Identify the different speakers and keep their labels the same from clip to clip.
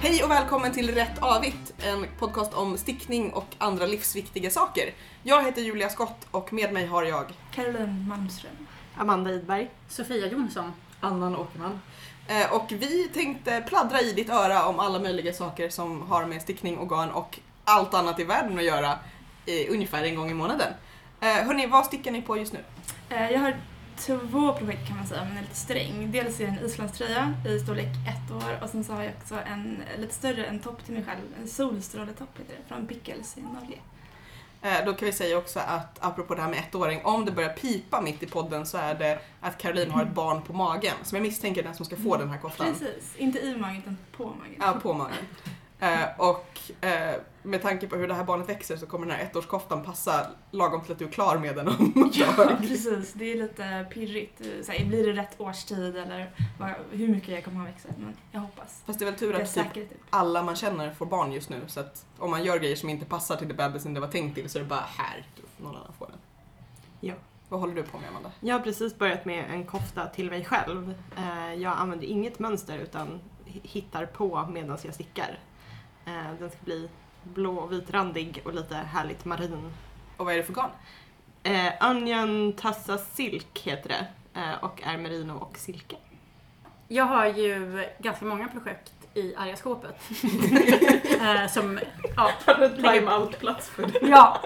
Speaker 1: Hej och välkommen till Rätt Avigt, en podcast om stickning och andra livsviktiga saker. Jag heter Julia Skott och med mig har jag
Speaker 2: Caroline Malmström.
Speaker 3: Amanda Idberg.
Speaker 4: Sofia Jonsson.
Speaker 5: Annan Åkerman.
Speaker 1: Eh, Och vi tänkte pladdra i ditt öra om alla möjliga saker som har med stickning, garn och allt annat i världen att göra eh, ungefär en gång i månaden. Eh, Hörni, vad stickar ni på just nu?
Speaker 2: Eh, Jag har två projekt kan man säga, men är lite sträng. Dels är det en islandströja i storlek ett år och sen så har jag också en eh, lite större, en topp till mig själv. En solstråletopp heter det, från Pickles i Norge.
Speaker 1: Eh, Då kan vi säga också att apropå det här med ettåring, om det börjar pipa mitt i podden så är det att Caroline har ett barn på magen som jag misstänker är den som ska få den här koftan.
Speaker 2: Precis, inte i magen utan på magen.
Speaker 1: Ja, på magen. Eh, och eh, med tanke på hur det här barnet växer så kommer den här ettårskoftan passa lagom till att du är klar med den om ett
Speaker 2: Ja,
Speaker 1: tag.
Speaker 2: precis. Det är lite pirrigt. Så här, blir det rätt årstid eller vad, hur mycket jag kommer ha växlat? Men jag hoppas.
Speaker 1: Fast det är väl tur
Speaker 2: Jag är
Speaker 1: att typ
Speaker 2: säker typ.
Speaker 1: alla man känner får barn just nu så att om man gör grejer som inte passar till det bebisen det var tänkt till så är det bara här, du, någon annan får den.
Speaker 3: Ja.
Speaker 1: Vad håller du på med Amanda?
Speaker 3: Jag har precis börjat med en kofta till mig själv. Eh, Jag använder inget mönster utan h- hittar på medan jag stickar. Eh, Den ska bli blå och vitrandig och lite härligt marin.
Speaker 1: Och vad är det för garn?
Speaker 3: Eh, Onion Tassa Silk heter det eh, och är merino och silke.
Speaker 4: Jag har ju ganska många projekt i arga skåpet. eh, som, ja,
Speaker 3: Har du
Speaker 4: time
Speaker 3: out-plats för det?
Speaker 4: ja.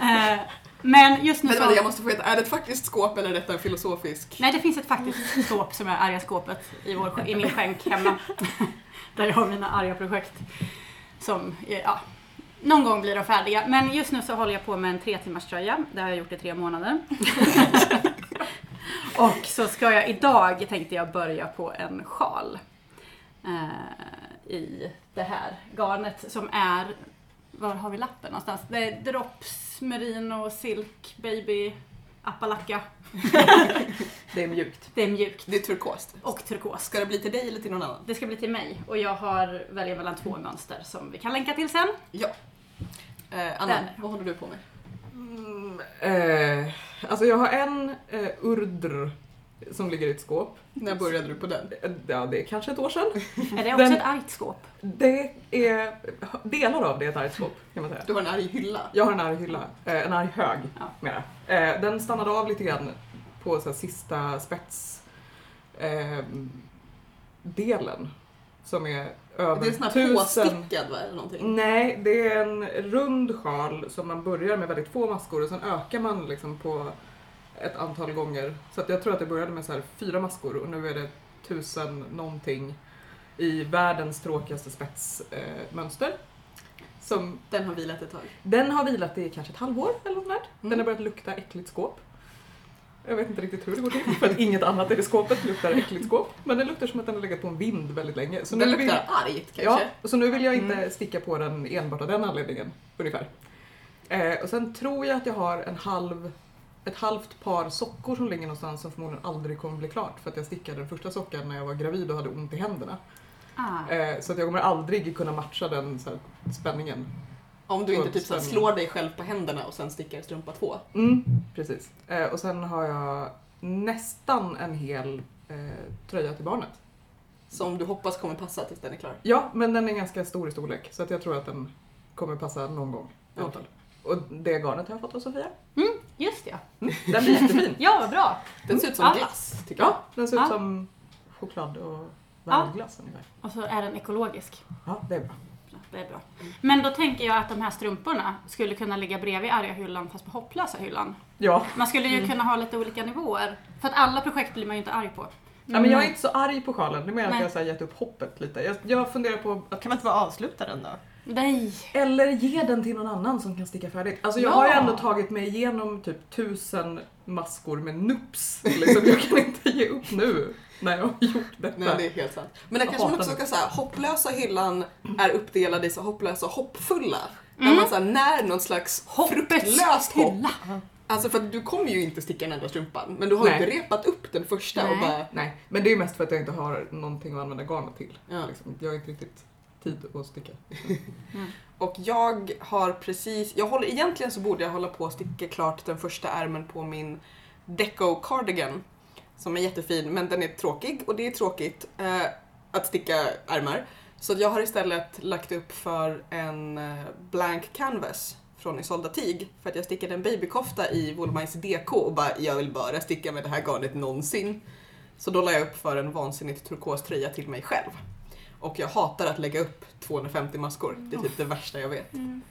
Speaker 4: Eh, men just nu
Speaker 1: Men
Speaker 4: så...
Speaker 1: vänta, jag måste få veta, är det ett faktiskt skåp eller är detta en filosofisk?
Speaker 4: Nej, det finns ett faktiskt skåp som är arga skåpet i, vår, i min skänk hemma. Där jag har mina arga projekt. Som, eh, ja, någon gång blir de färdiga. Men just nu så håller jag på med en tre timmars tröja. Det har jag gjort i tre månader. Och så ska jag idag, tänkte jag, börja på en sjal. Eh, I det här garnet som är, var har vi lappen någonstans? Det är Drops, Merino, Silk, Baby, Appalacka.
Speaker 5: Det är mjukt.
Speaker 4: Det är mjukt.
Speaker 1: Det är turkost.
Speaker 4: Och turkos.
Speaker 1: Ska det bli till dig eller till någon annan?
Speaker 4: Det ska bli till mig och jag har väljer mellan två mönster som vi kan länka till sen.
Speaker 1: Eh, Anna,
Speaker 4: Den.
Speaker 1: vad håller du på med?
Speaker 5: Mm, eh, alltså jag har en eh, urdr som ligger i ett skåp.
Speaker 1: När började du på den?
Speaker 5: Eh, Ja, det är kanske ett år sedan.
Speaker 4: Är det också
Speaker 5: Den-
Speaker 4: ett argt skåp?
Speaker 5: Det är, delar av det är ett argt skåp kan man säga.
Speaker 1: Du har en arg hylla.
Speaker 5: Jag har en arg hylla, eh, en arg hög
Speaker 4: Ja.
Speaker 5: mera. Eh, Den stannade av lite grann på så här, sista spets eh, delen som är över
Speaker 1: Det är en sån här
Speaker 5: tusen... Mm.
Speaker 1: påstickad va, eller någonting?
Speaker 5: Nej, det är en rund sjal som man börjar med väldigt få maskor och sen ökar man liksom på ett antal gånger. Så att jag tror att det började med så här fyra maskor och nu är det tusen någonting i världens tråkigaste spetsmönster. Eh, mönster. som
Speaker 1: Den har vilat ett tag.
Speaker 5: den har vilat i kanske ett halvår eller något sånt där. Den
Speaker 1: Mm.
Speaker 5: har börjat lukta äckligt skåp. Jag vet inte riktigt hur det går till för att inget annat i det skåpet luktar äckligt skåp. Men den luktar som att den har legat på en vind väldigt länge. Så
Speaker 1: den
Speaker 5: vill-
Speaker 1: luktar argt kanske.
Speaker 5: Ja, så nu vill jag inte
Speaker 1: Mm.
Speaker 5: sticka på den enbart av den anledningen, ungefär. Eh, och sen tror jag att jag har en halv, ett halvt par sockor som ligger någonstans som förmodligen aldrig kommer bli klart för att jag stickade den första sockan när jag var gravid och hade ont i händerna.
Speaker 4: Ah.
Speaker 5: Eh, så att jag kommer aldrig kunna matcha den så här, spänningen.
Speaker 1: Om du inte typ så här
Speaker 5: Fullständigt.
Speaker 1: slår dig själv på händerna och sen stickar strumpa två.
Speaker 5: Mm, precis. Eh, och sen har jag nästan en hel eh, tröja till barnet.
Speaker 1: Som du hoppas kommer passa tills den är klar.
Speaker 5: Ja, men den är ganska stor i storlek så att jag tror att den kommer passa någon gång. i alla fall. Och det garnet har jag fått av Sofia.
Speaker 4: Just ja.
Speaker 5: Den blir jättefin.
Speaker 4: Ja, vad bra.
Speaker 1: Den ser ut som
Speaker 4: Ja.
Speaker 1: glass tycker jag.
Speaker 5: Mm. Ah. Ja, den ser ut
Speaker 4: Ja.
Speaker 5: som choklad och vaniljglass ungefär.
Speaker 4: Och så är den ekologisk.
Speaker 5: Ja, det är bra.
Speaker 4: Det är bra. Men då tänker jag att de här strumporna skulle kunna ligga bredvid arga hyllan fast på hopplösa hyllan.
Speaker 5: Ja.
Speaker 4: Man skulle ju kunna ha lite olika nivåer. För att alla projekt blir man ju inte arg på.
Speaker 5: ja, men jag är inte så arg på sjalen. Det är mer att
Speaker 4: Mm. Nej.
Speaker 5: jag har gett upp hoppet lite. Jag, jag funderar på att...
Speaker 3: Kan man inte bara avsluta den då?
Speaker 4: Nej.
Speaker 5: Eller ge den till någon annan som kan sticka färdigt. Alltså jag
Speaker 4: Ja.
Speaker 5: har ju ändå tagit mig igenom typ tusen maskor med nups. Liksom. Jag kan inte ge upp nu när jag har gjort detta.
Speaker 1: Nej, det är helt sant. Men där
Speaker 5: Jag
Speaker 1: kanske man
Speaker 5: hatar
Speaker 1: också
Speaker 5: det.
Speaker 1: ska säga hopplösa hyllan är uppdelad i så hopplösa och hoppfulla. Där
Speaker 4: Mm.
Speaker 1: man så här, när någon slags fruktlöst hopp.
Speaker 4: Hylla.
Speaker 1: Alltså för att du kommer ju inte sticka den andra strumpan men du har ju
Speaker 5: Nej.
Speaker 1: inte repat upp den första och
Speaker 4: Nej.
Speaker 1: bara
Speaker 5: Nej, men det är ju mest för att jag inte har någonting att använda garnet till.
Speaker 1: ja.
Speaker 5: Liksom. Jag har inte riktigt tid att sticka.
Speaker 1: Och jag har precis, jag håller, egentligen så borde jag hålla på att sticka klart den första ärmen på min Deco Cardigan. Som är jättefin, men den är tråkig och det är tråkigt eh, att sticka ärmar. Så jag har istället lagt upp för en eh, blank canvas från Isolda Tig för att jag stickade en babykofta i Woolmines DK och bara jag vill bara sticka med det här garnet någonsin. Så då la jag upp för en vansinnigt turkos tröja till mig själv. Och jag hatar att lägga upp 250 maskor. Det är typ det värsta jag vet.
Speaker 2: Mm.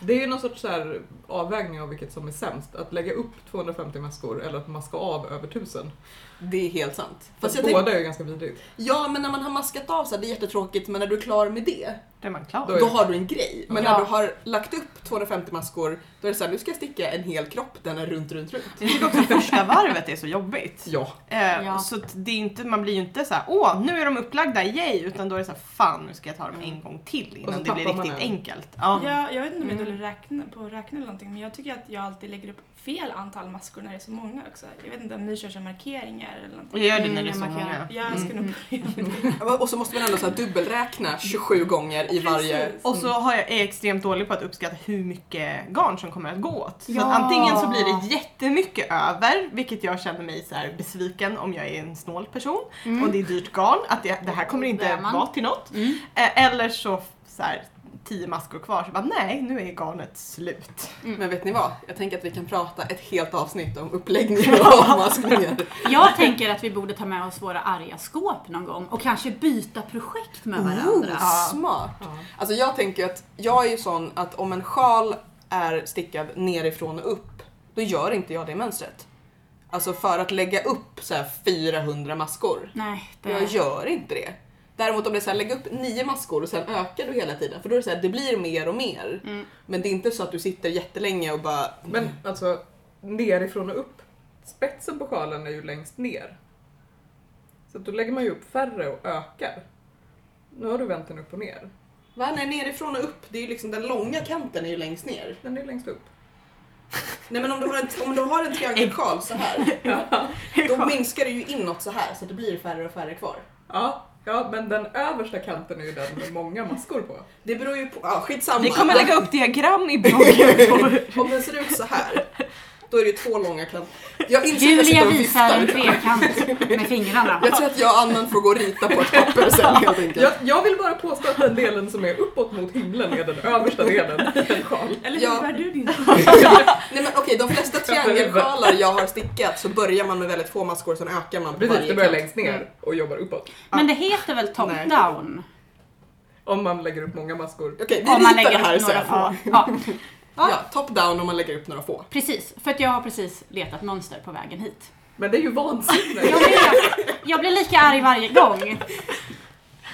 Speaker 5: Det är ju någon sorts så här avvägning av vilket som är sämst. Att lägga upp 250 maskor eller att maska av över 1000.
Speaker 1: Det är helt sant. Fast
Speaker 5: Fast
Speaker 1: jag
Speaker 5: båda
Speaker 1: tänk,
Speaker 5: är ju ganska vidrigt.
Speaker 1: ja, men när man har maskat av så här, det är jättetråkigt, men när du är klar med det,
Speaker 3: Då är man klar.
Speaker 5: Då är-
Speaker 1: då har du en grej. Men
Speaker 4: Ja.
Speaker 1: när du har lagt upp 250 maskor, då är det så här, nu ska jag sticka en hel kropp, den är runt, runt, runt.
Speaker 3: Jag tycker också att första varvet är så jobbigt.
Speaker 5: Ja.
Speaker 3: Eh,
Speaker 4: Ja.
Speaker 3: Så att det är inte, man blir ju inte så här: åh nu är de upplagda, yay! Utan då är det så här, fan nu ska jag ta dem en gång till
Speaker 5: Och så
Speaker 3: innan det blir
Speaker 5: tappar man
Speaker 3: riktigt
Speaker 5: en.
Speaker 3: enkelt. Ja.
Speaker 2: Jag, jag vet inte om jag är
Speaker 1: Mm.
Speaker 2: dålig räkna, på att räkna eller någonting men jag tycker att jag alltid lägger upp fel antal maskor när det är så många också. Jag vet inte om ni kör som markeringar eller någonting.
Speaker 3: Jag gör det
Speaker 4: Mm,
Speaker 3: när det är
Speaker 4: jag
Speaker 3: så
Speaker 4: markerar.
Speaker 3: många.
Speaker 2: Jag ska nog
Speaker 1: Mm.
Speaker 2: börja med det.
Speaker 1: Och så måste man ändå så här dubbelräkna 27 gånger i varje...
Speaker 2: Precis.
Speaker 3: Och så har jag, är jag extremt dålig på att uppskatta hur mycket garn som kommer att gå åt. Så
Speaker 4: Ja.
Speaker 3: att antingen så blir det jättemycket över, vilket jag känner mig så här besviken om jag är en snål person och det är dyrt garn, att det, det här kommer
Speaker 4: Det
Speaker 3: inte
Speaker 4: är Mm. man.
Speaker 3: vara till något.
Speaker 4: Mm.
Speaker 3: Eh, Eller så, så här, tio maskor kvar, så bara nej, nu är garnet slut.
Speaker 1: Men vet ni vad? Jag tänker att vi kan prata ett helt avsnitt om uppläggningar och avmaskningar.
Speaker 4: Jag tänker att vi borde ta med oss våra arga skåp någon gång och kanske byta projekt med varandra.
Speaker 1: Oh, smart! Alltså jag tänker att jag är ju sån att om en sjal är stickad nerifrån och upp, då gör inte jag det mönstret. Alltså för att lägga upp så här 400 maskor.
Speaker 4: Nej, det...
Speaker 1: Jag gör inte det. Däremot om det är så här, lägga upp nio maskor och sen ökar du hela tiden, för då är det så här, det blir mer och mer.
Speaker 4: Mm.
Speaker 1: Men det är inte så att du sitter jättelänge och bara...
Speaker 5: Men alltså, nerifrån och upp. Spetsen på sjalen är ju längst ner. Så att då lägger man ju upp färre och ökar. Nu har du vänt den upp och ner.
Speaker 1: Va? Nej, nerifrån och upp, det är ju liksom den långa kanten är ju längst ner.
Speaker 5: Den är längst upp.
Speaker 1: Nej men om du har en, om du har en triangelsjal så här, då minskar det ju inåt så här så att det blir färre och färre kvar.
Speaker 5: Ja, ja, men den översta kanten är ju den med många maskor på.
Speaker 1: Det beror ju på, ja skitsamma.
Speaker 3: Vi kommer lägga upp diagram i bloggen. på-
Speaker 1: Om den ser ut så här, då är det ju två långa kanter. Jag inser att jag sitter
Speaker 4: Julia
Speaker 1: och
Speaker 4: visar en
Speaker 1: viftar.
Speaker 4: trekant med fingrarna.
Speaker 1: Jag tror att jag och Annan får gå och rita på ett papper sen helt enkelt.
Speaker 5: Jag, jag vill bara påstå att den delen som är uppåt mot himlen är den översta delen i en sjal.
Speaker 2: Eller
Speaker 1: Ja.
Speaker 2: hur bär du din
Speaker 1: Nej men okej, de flesta triangelsjalar jag har stickat så börjar man med väldigt få maskor, sen ökar man på
Speaker 5: Precis,
Speaker 1: varje
Speaker 5: det börjar
Speaker 1: kant.
Speaker 5: längst ner och jobbar uppåt.
Speaker 4: Men det heter väl top
Speaker 1: Nej.
Speaker 4: down?
Speaker 5: Om man lägger upp många maskor.
Speaker 1: Okej, vi
Speaker 4: Om
Speaker 1: ritar
Speaker 4: man lägger
Speaker 1: det här
Speaker 4: upp
Speaker 1: sen.
Speaker 4: några få. Ja,
Speaker 1: Ja, top down om man lägger upp några få.
Speaker 4: precis. För att jag har precis letat mönster på vägen hit.
Speaker 5: Men det är ju vansinne!
Speaker 4: Jag blir, jag blir lika arg varje gång.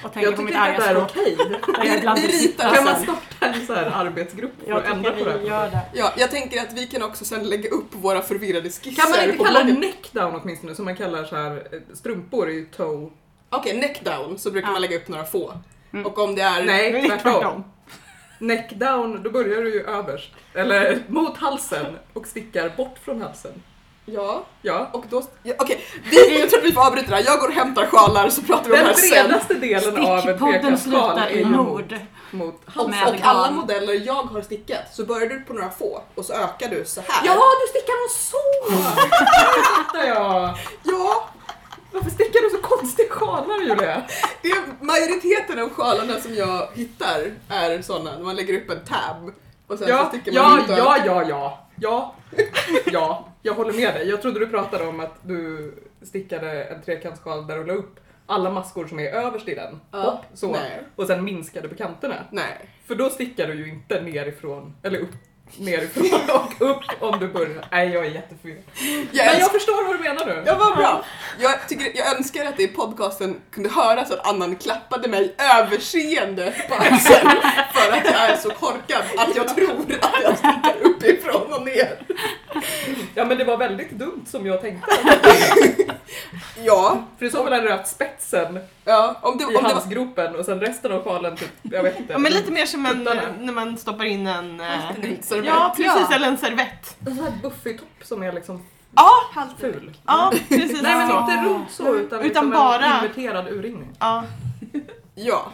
Speaker 4: Och tänker
Speaker 5: Jag
Speaker 4: på mitt
Speaker 5: tycker inte att det
Speaker 4: arga skåp.
Speaker 5: är okej.
Speaker 4: där jag ibland
Speaker 1: Vi ritar.
Speaker 4: sitter
Speaker 5: Kan man
Speaker 4: sen.
Speaker 5: starta en så här arbetsgrupp för
Speaker 4: Jag
Speaker 5: att ändra på det
Speaker 4: tycker vi gör
Speaker 5: här?
Speaker 4: det.
Speaker 1: Ja, jag tänker att vi kan också sen lägga upp våra förvirrade skisser
Speaker 5: Kan man inte
Speaker 1: på
Speaker 5: kalla
Speaker 1: bloggen.
Speaker 5: neckdown åtminstone, som man kallar så här eh, strumpor är ju toe.
Speaker 1: Okej, neck down så brukar
Speaker 4: Ja.
Speaker 1: man lägga upp några få.
Speaker 4: Mm.
Speaker 1: Och om det är...
Speaker 5: Nej, tvärtom.
Speaker 3: Tvärtom.
Speaker 5: Neckdown, då börjar du ju överst. Eller mot halsen och stickar bort från halsen.
Speaker 1: Ja,
Speaker 5: Ja.
Speaker 1: och då... Ja, Okej, vi, jag tror att vi får avbryta det här. Jag går och hämtar sjalar så pratar vi om
Speaker 5: Den
Speaker 1: det här sen.
Speaker 5: bredaste delen av en
Speaker 4: Stickpodden
Speaker 5: trekantskal
Speaker 4: slutar
Speaker 5: är
Speaker 4: i
Speaker 5: ju mot,
Speaker 4: mord.
Speaker 5: mot halsen.
Speaker 1: Och,
Speaker 4: Med
Speaker 1: och alla
Speaker 4: garn.
Speaker 1: modeller jag har stickat så börjar du på några få och så ökar du så här.
Speaker 5: Ja, du stickar dem så! Nu fattar jag!
Speaker 1: ja
Speaker 5: Varför stickar du så konstiga sjalar Julia?
Speaker 1: det är majoriteten av sjalarna som jag hittar är sådana när man lägger upp en tab och sen så
Speaker 5: Ja,
Speaker 1: sticker man
Speaker 5: ja,
Speaker 1: ut och-
Speaker 5: ja, ja, ja, ja, ja, jag håller med dig. Jag trodde du pratade om att du stickade en trekantssjal där du la upp alla maskor som är överst i den.
Speaker 1: Ja.
Speaker 5: Hopp, så.
Speaker 1: Nej.
Speaker 5: Och sen minskade på kanterna.
Speaker 1: Nej.
Speaker 5: För då stickar du ju inte nerifrån, eller upp, nerifrån och upp om du börjar. Nej, jag är jättefel.
Speaker 1: Jag
Speaker 5: Men jag
Speaker 1: älskar...
Speaker 5: förstår vad du menar nu.
Speaker 1: Ja, vad bra! Jag, tycker, jag önskar att det i podcasten kunde höras att Annan klappade mig överseende på axeln för att jag är så korkad att jag tror att jag sticker uppifrån och ner.
Speaker 5: Ja, men det var väldigt dumt som jag tänkte.
Speaker 1: Ja,
Speaker 5: För i så fall hade du haft spetsen
Speaker 1: ja om det,
Speaker 5: i
Speaker 1: om det var...
Speaker 5: halsgropen och sen resten av sjalen typ, jag vet inte.
Speaker 3: Ja, men lite mer som en, eh, när man stoppar in en... eh,
Speaker 1: Servett.
Speaker 3: Ja, precis.
Speaker 4: Ja.
Speaker 3: Eller en servett.
Speaker 5: En sån här buffig topp som är liksom
Speaker 3: Ja,
Speaker 1: Alltså,
Speaker 5: ful.
Speaker 3: ja precis.
Speaker 5: Nej men
Speaker 3: så.
Speaker 5: inte runt så utan,
Speaker 3: Utan
Speaker 5: liksom
Speaker 3: bara-
Speaker 5: en inverterad urringning.
Speaker 3: Ja.
Speaker 1: Ja.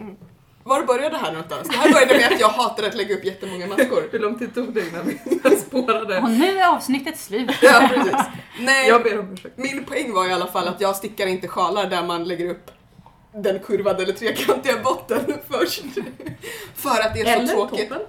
Speaker 1: Mm. Var började det här någonstans? Det här började med att jag hatade att lägga upp jättemånga maskor.
Speaker 5: Hur lång tid tog det innan vi spårade?
Speaker 4: Och nu är avsnittet slut.
Speaker 1: Ja, precis. Nej,
Speaker 5: Jag ber om ursäkt.
Speaker 1: min poäng var i alla fall att jag stickar inte sjalar där man lägger upp den kurvade eller trekantiga botten först. För att det är så
Speaker 4: Eller
Speaker 1: tråkigt.
Speaker 4: toppen.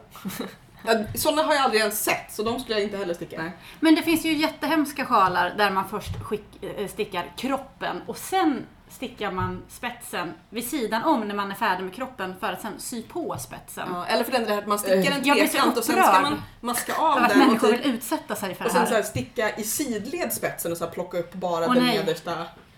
Speaker 1: Ja, Sådana har jag aldrig ens sett, så de skulle jag inte heller sticka.
Speaker 5: Nej.
Speaker 4: Men det finns ju jättehemska sjalar där man först skick, eh, stickar kroppen och sen stickar man spetsen vid sidan om när man är färdig med kroppen för att sen sy på spetsen.
Speaker 1: Ja, eller för den där att man stickar en
Speaker 4: Jag blir så
Speaker 1: trekant och sen
Speaker 4: upprörd.
Speaker 1: ska man maska av
Speaker 4: Att
Speaker 1: den och,
Speaker 4: människor
Speaker 1: typ,
Speaker 4: vill utsätta sig för
Speaker 1: och
Speaker 4: det här.
Speaker 1: sen så här sticka i sidled spetsen och så här plocka upp bara
Speaker 4: Åh,
Speaker 1: den
Speaker 4: nej.
Speaker 1: nedersta.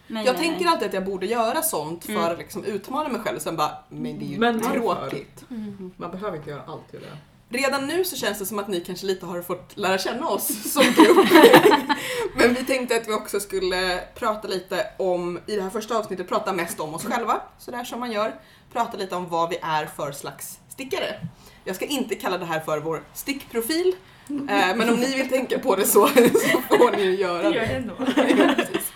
Speaker 4: nej,
Speaker 1: jag
Speaker 4: nej,
Speaker 1: tänker
Speaker 4: nej.
Speaker 1: alltid att jag borde göra sånt för
Speaker 4: Mm.
Speaker 1: att liksom utmana mig själv och sen bara, men det är ju
Speaker 5: Men varför?
Speaker 1: tråkigt.
Speaker 4: Mm.
Speaker 5: Man behöver inte göra allt Julia.
Speaker 1: Redan nu så känns det som att ni kanske lite har fått lära känna oss som grupp. men vi tänkte att vi också skulle prata lite om, i det här första avsnittet, prata mest om oss själva, sådär som man gör. Prata lite om vad vi är för slags stickare. Jag ska inte kalla det här för vår stickprofil, eh, men om ni vill tänka på det så, så får ni ju göra
Speaker 2: Det gör det
Speaker 1: det.
Speaker 2: ändå.
Speaker 1: Ja, precis.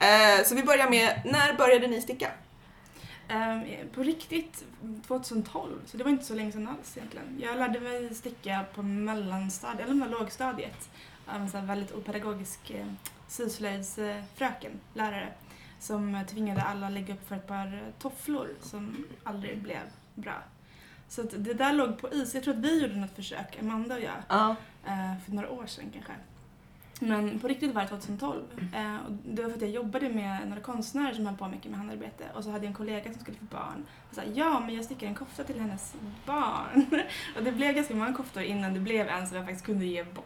Speaker 1: Eh, så vi börjar med, när började ni sticka?
Speaker 2: Ehm, på riktigt 2012, så det var inte så länge sedan alls egentligen. Jag lärde mig sticka på mellanstadiet, eller med lågstadiet, av en sån här väldigt opedagogisk eh, syslöjdsfröken, lärare, som eh, tvingade alla att lägga upp för ett par eh, tofflor som aldrig blev bra. Så att det där låg på is. Jag tror att vi gjorde något försök, Amanda och jag,
Speaker 1: Ja.
Speaker 2: eh, för några år sedan kanske. Men på riktigt var det 2012. Eh, och det var för att jag jobbade med några konstnärer som höll på mycket med handarbete och så hade jag en kollega som skulle få barn. Och sa ja, men jag stickar en kofta till hennes barn. och det blev ganska många koftor innan det blev en som jag faktiskt kunde ge bort.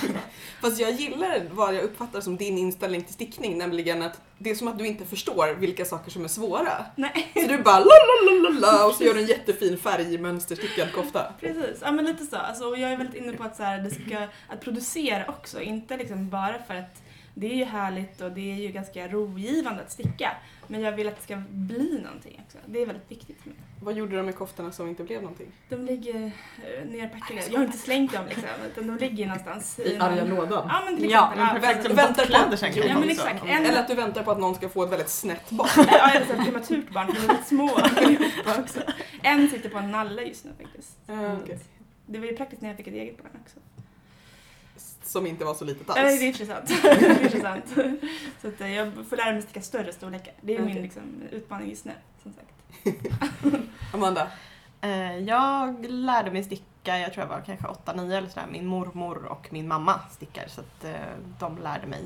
Speaker 1: Fast jag gillar vad jag uppfattar som din inställning till stickning, nämligen att det är som att du inte förstår vilka saker som är svåra.
Speaker 2: Nej,
Speaker 1: Så du bara la la la la la och så gör du en jättefin färgmönsterstickad kofta.
Speaker 2: precis. Ja, men lite så. Alltså, och jag är väldigt inne på att, så här, det ska, att producera också, inte liksom bara för att det är ju härligt och det är ju ganska rogivande att sticka. Men jag vill att det ska bli någonting också. Det är väldigt viktigt för mig.
Speaker 1: Vad gjorde du med koftorna som inte blev någonting?
Speaker 2: De ligger eh, nerpackade. Jag har inte slängt dem liksom, utan de ligger någonstans.
Speaker 5: I
Speaker 2: någon-
Speaker 5: arga lådan.
Speaker 2: Ja men till
Speaker 4: Ja,
Speaker 2: exempel.
Speaker 3: men perfekt.
Speaker 1: Vänta,
Speaker 3: Som
Speaker 1: vänta
Speaker 3: bortkläder
Speaker 1: på-
Speaker 3: sen
Speaker 2: Ja,
Speaker 3: kan
Speaker 2: men
Speaker 3: man också.
Speaker 2: exakt. En,
Speaker 1: Eller att du väntar på att någon ska få ett väldigt snett barn.
Speaker 2: ja, eller så ett prematurt barn, för de är väldigt små allihopa också. En sitter på en nalle just nu faktiskt. Mm.
Speaker 1: Eh, okej.
Speaker 2: Det var ju praktiskt när jag fick ett eget barn också.
Speaker 1: Som inte var så litet
Speaker 2: Eller, det är
Speaker 1: alls.
Speaker 2: intressant. det är intressant. Så att eh, jag får lära mig sticka större storlekar. Det är
Speaker 1: Okej.
Speaker 2: min liksom, utmaning just nu. Som sagt.
Speaker 1: Amanda,
Speaker 3: Eh, Jag lärde mig sticka, jag tror jag var kanske 8-9 eller sådär. Min mormor och min mamma stickar så att eh, de lärde mig.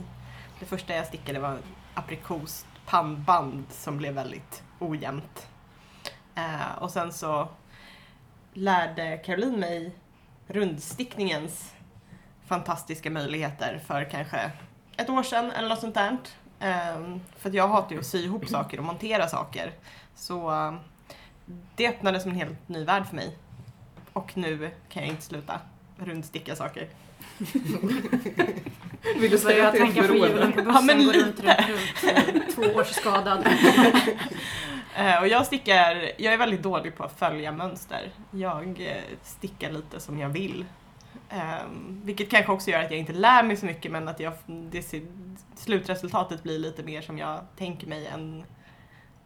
Speaker 3: Det första jag stickade var aprikost pannband som blev väldigt ojämnt. Eh, Och sen så lärde Caroline mig rundstickningens fantastiska möjligheter för kanske ett år sedan eller något sånt där. Eh, För att jag hatar ju att sy ihop saker och montera saker. Så eh, det öppnade som en helt ny värld för mig. Och nu kan jag inte sluta rundsticka saker.
Speaker 5: Vill
Speaker 4: Börjar
Speaker 5: du säga
Speaker 4: jag
Speaker 5: att det är
Speaker 4: tänka på julen
Speaker 5: beroende?
Speaker 4: på bussen,
Speaker 3: Ja, men
Speaker 4: går runt, runt, runt, två års skadad.
Speaker 3: Eh, Och jag stickar, jag är väldigt dålig på att följa mönster. Jag eh, stickar lite som jag vill. Ehm, vilket kanske också gör att jag inte lär mig så mycket men att jag, det, ser- slutresultatet blir lite mer som jag tänker mig än,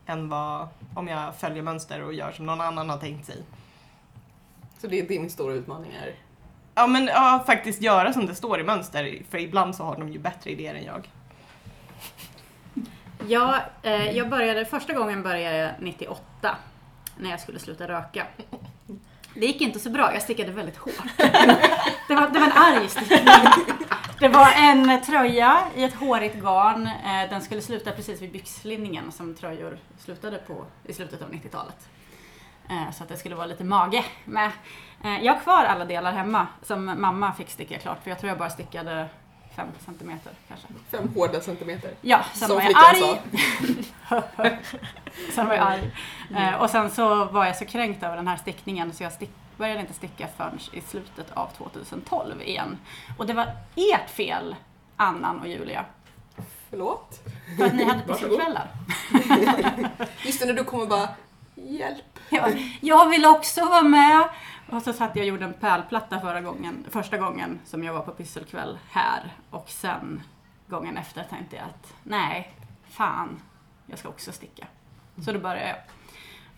Speaker 3: än vad, om jag följer mönster och gör som någon annan har tänkt sig.
Speaker 1: så det är din stora utmaning är?
Speaker 3: Ja men ja, faktiskt göra som det står i mönster för ibland så har de ju bättre idéer än jag.
Speaker 4: Jag, eh, jag började, första gången började jag 98 när jag skulle sluta röka. Det gick inte så bra, jag stickade väldigt hårt. Det var, det var en arg stickning. Det var en tröja i ett hårigt garn. Eh, den skulle sluta precis vid byxlinningen som tröjor slutade på i slutet av 90-talet. Eh, så att det skulle vara lite mage med. Eh, jag har kvar alla delar hemma som mamma fick sticka klart för jag tror jag bara stickade 5 cm kanske.
Speaker 1: Fem hårda centimeter.
Speaker 4: Ja, sen
Speaker 1: Som
Speaker 4: var jag
Speaker 1: flickan
Speaker 4: arg. sen var jag arg.
Speaker 1: Mm.
Speaker 4: Eh, och sen så var jag så kränkt över den här stickningen så jag stick, började inte sticka förrän i slutet av 2012 igen. Och det var ert fel, Annan och Julia,
Speaker 1: Förlåt?
Speaker 4: för att ni hade
Speaker 5: Varsågod.
Speaker 4: pusselkvällar.
Speaker 1: Just det, när du kommer bara Hjälp!
Speaker 4: Jag, jag vill också vara med! Och så satt jag och gjorde en pärlplatta förra gången, första gången som jag var på pysselkväll här. Och sen gången efter tänkte jag att nej, fan, jag ska också sticka. Så då började jag.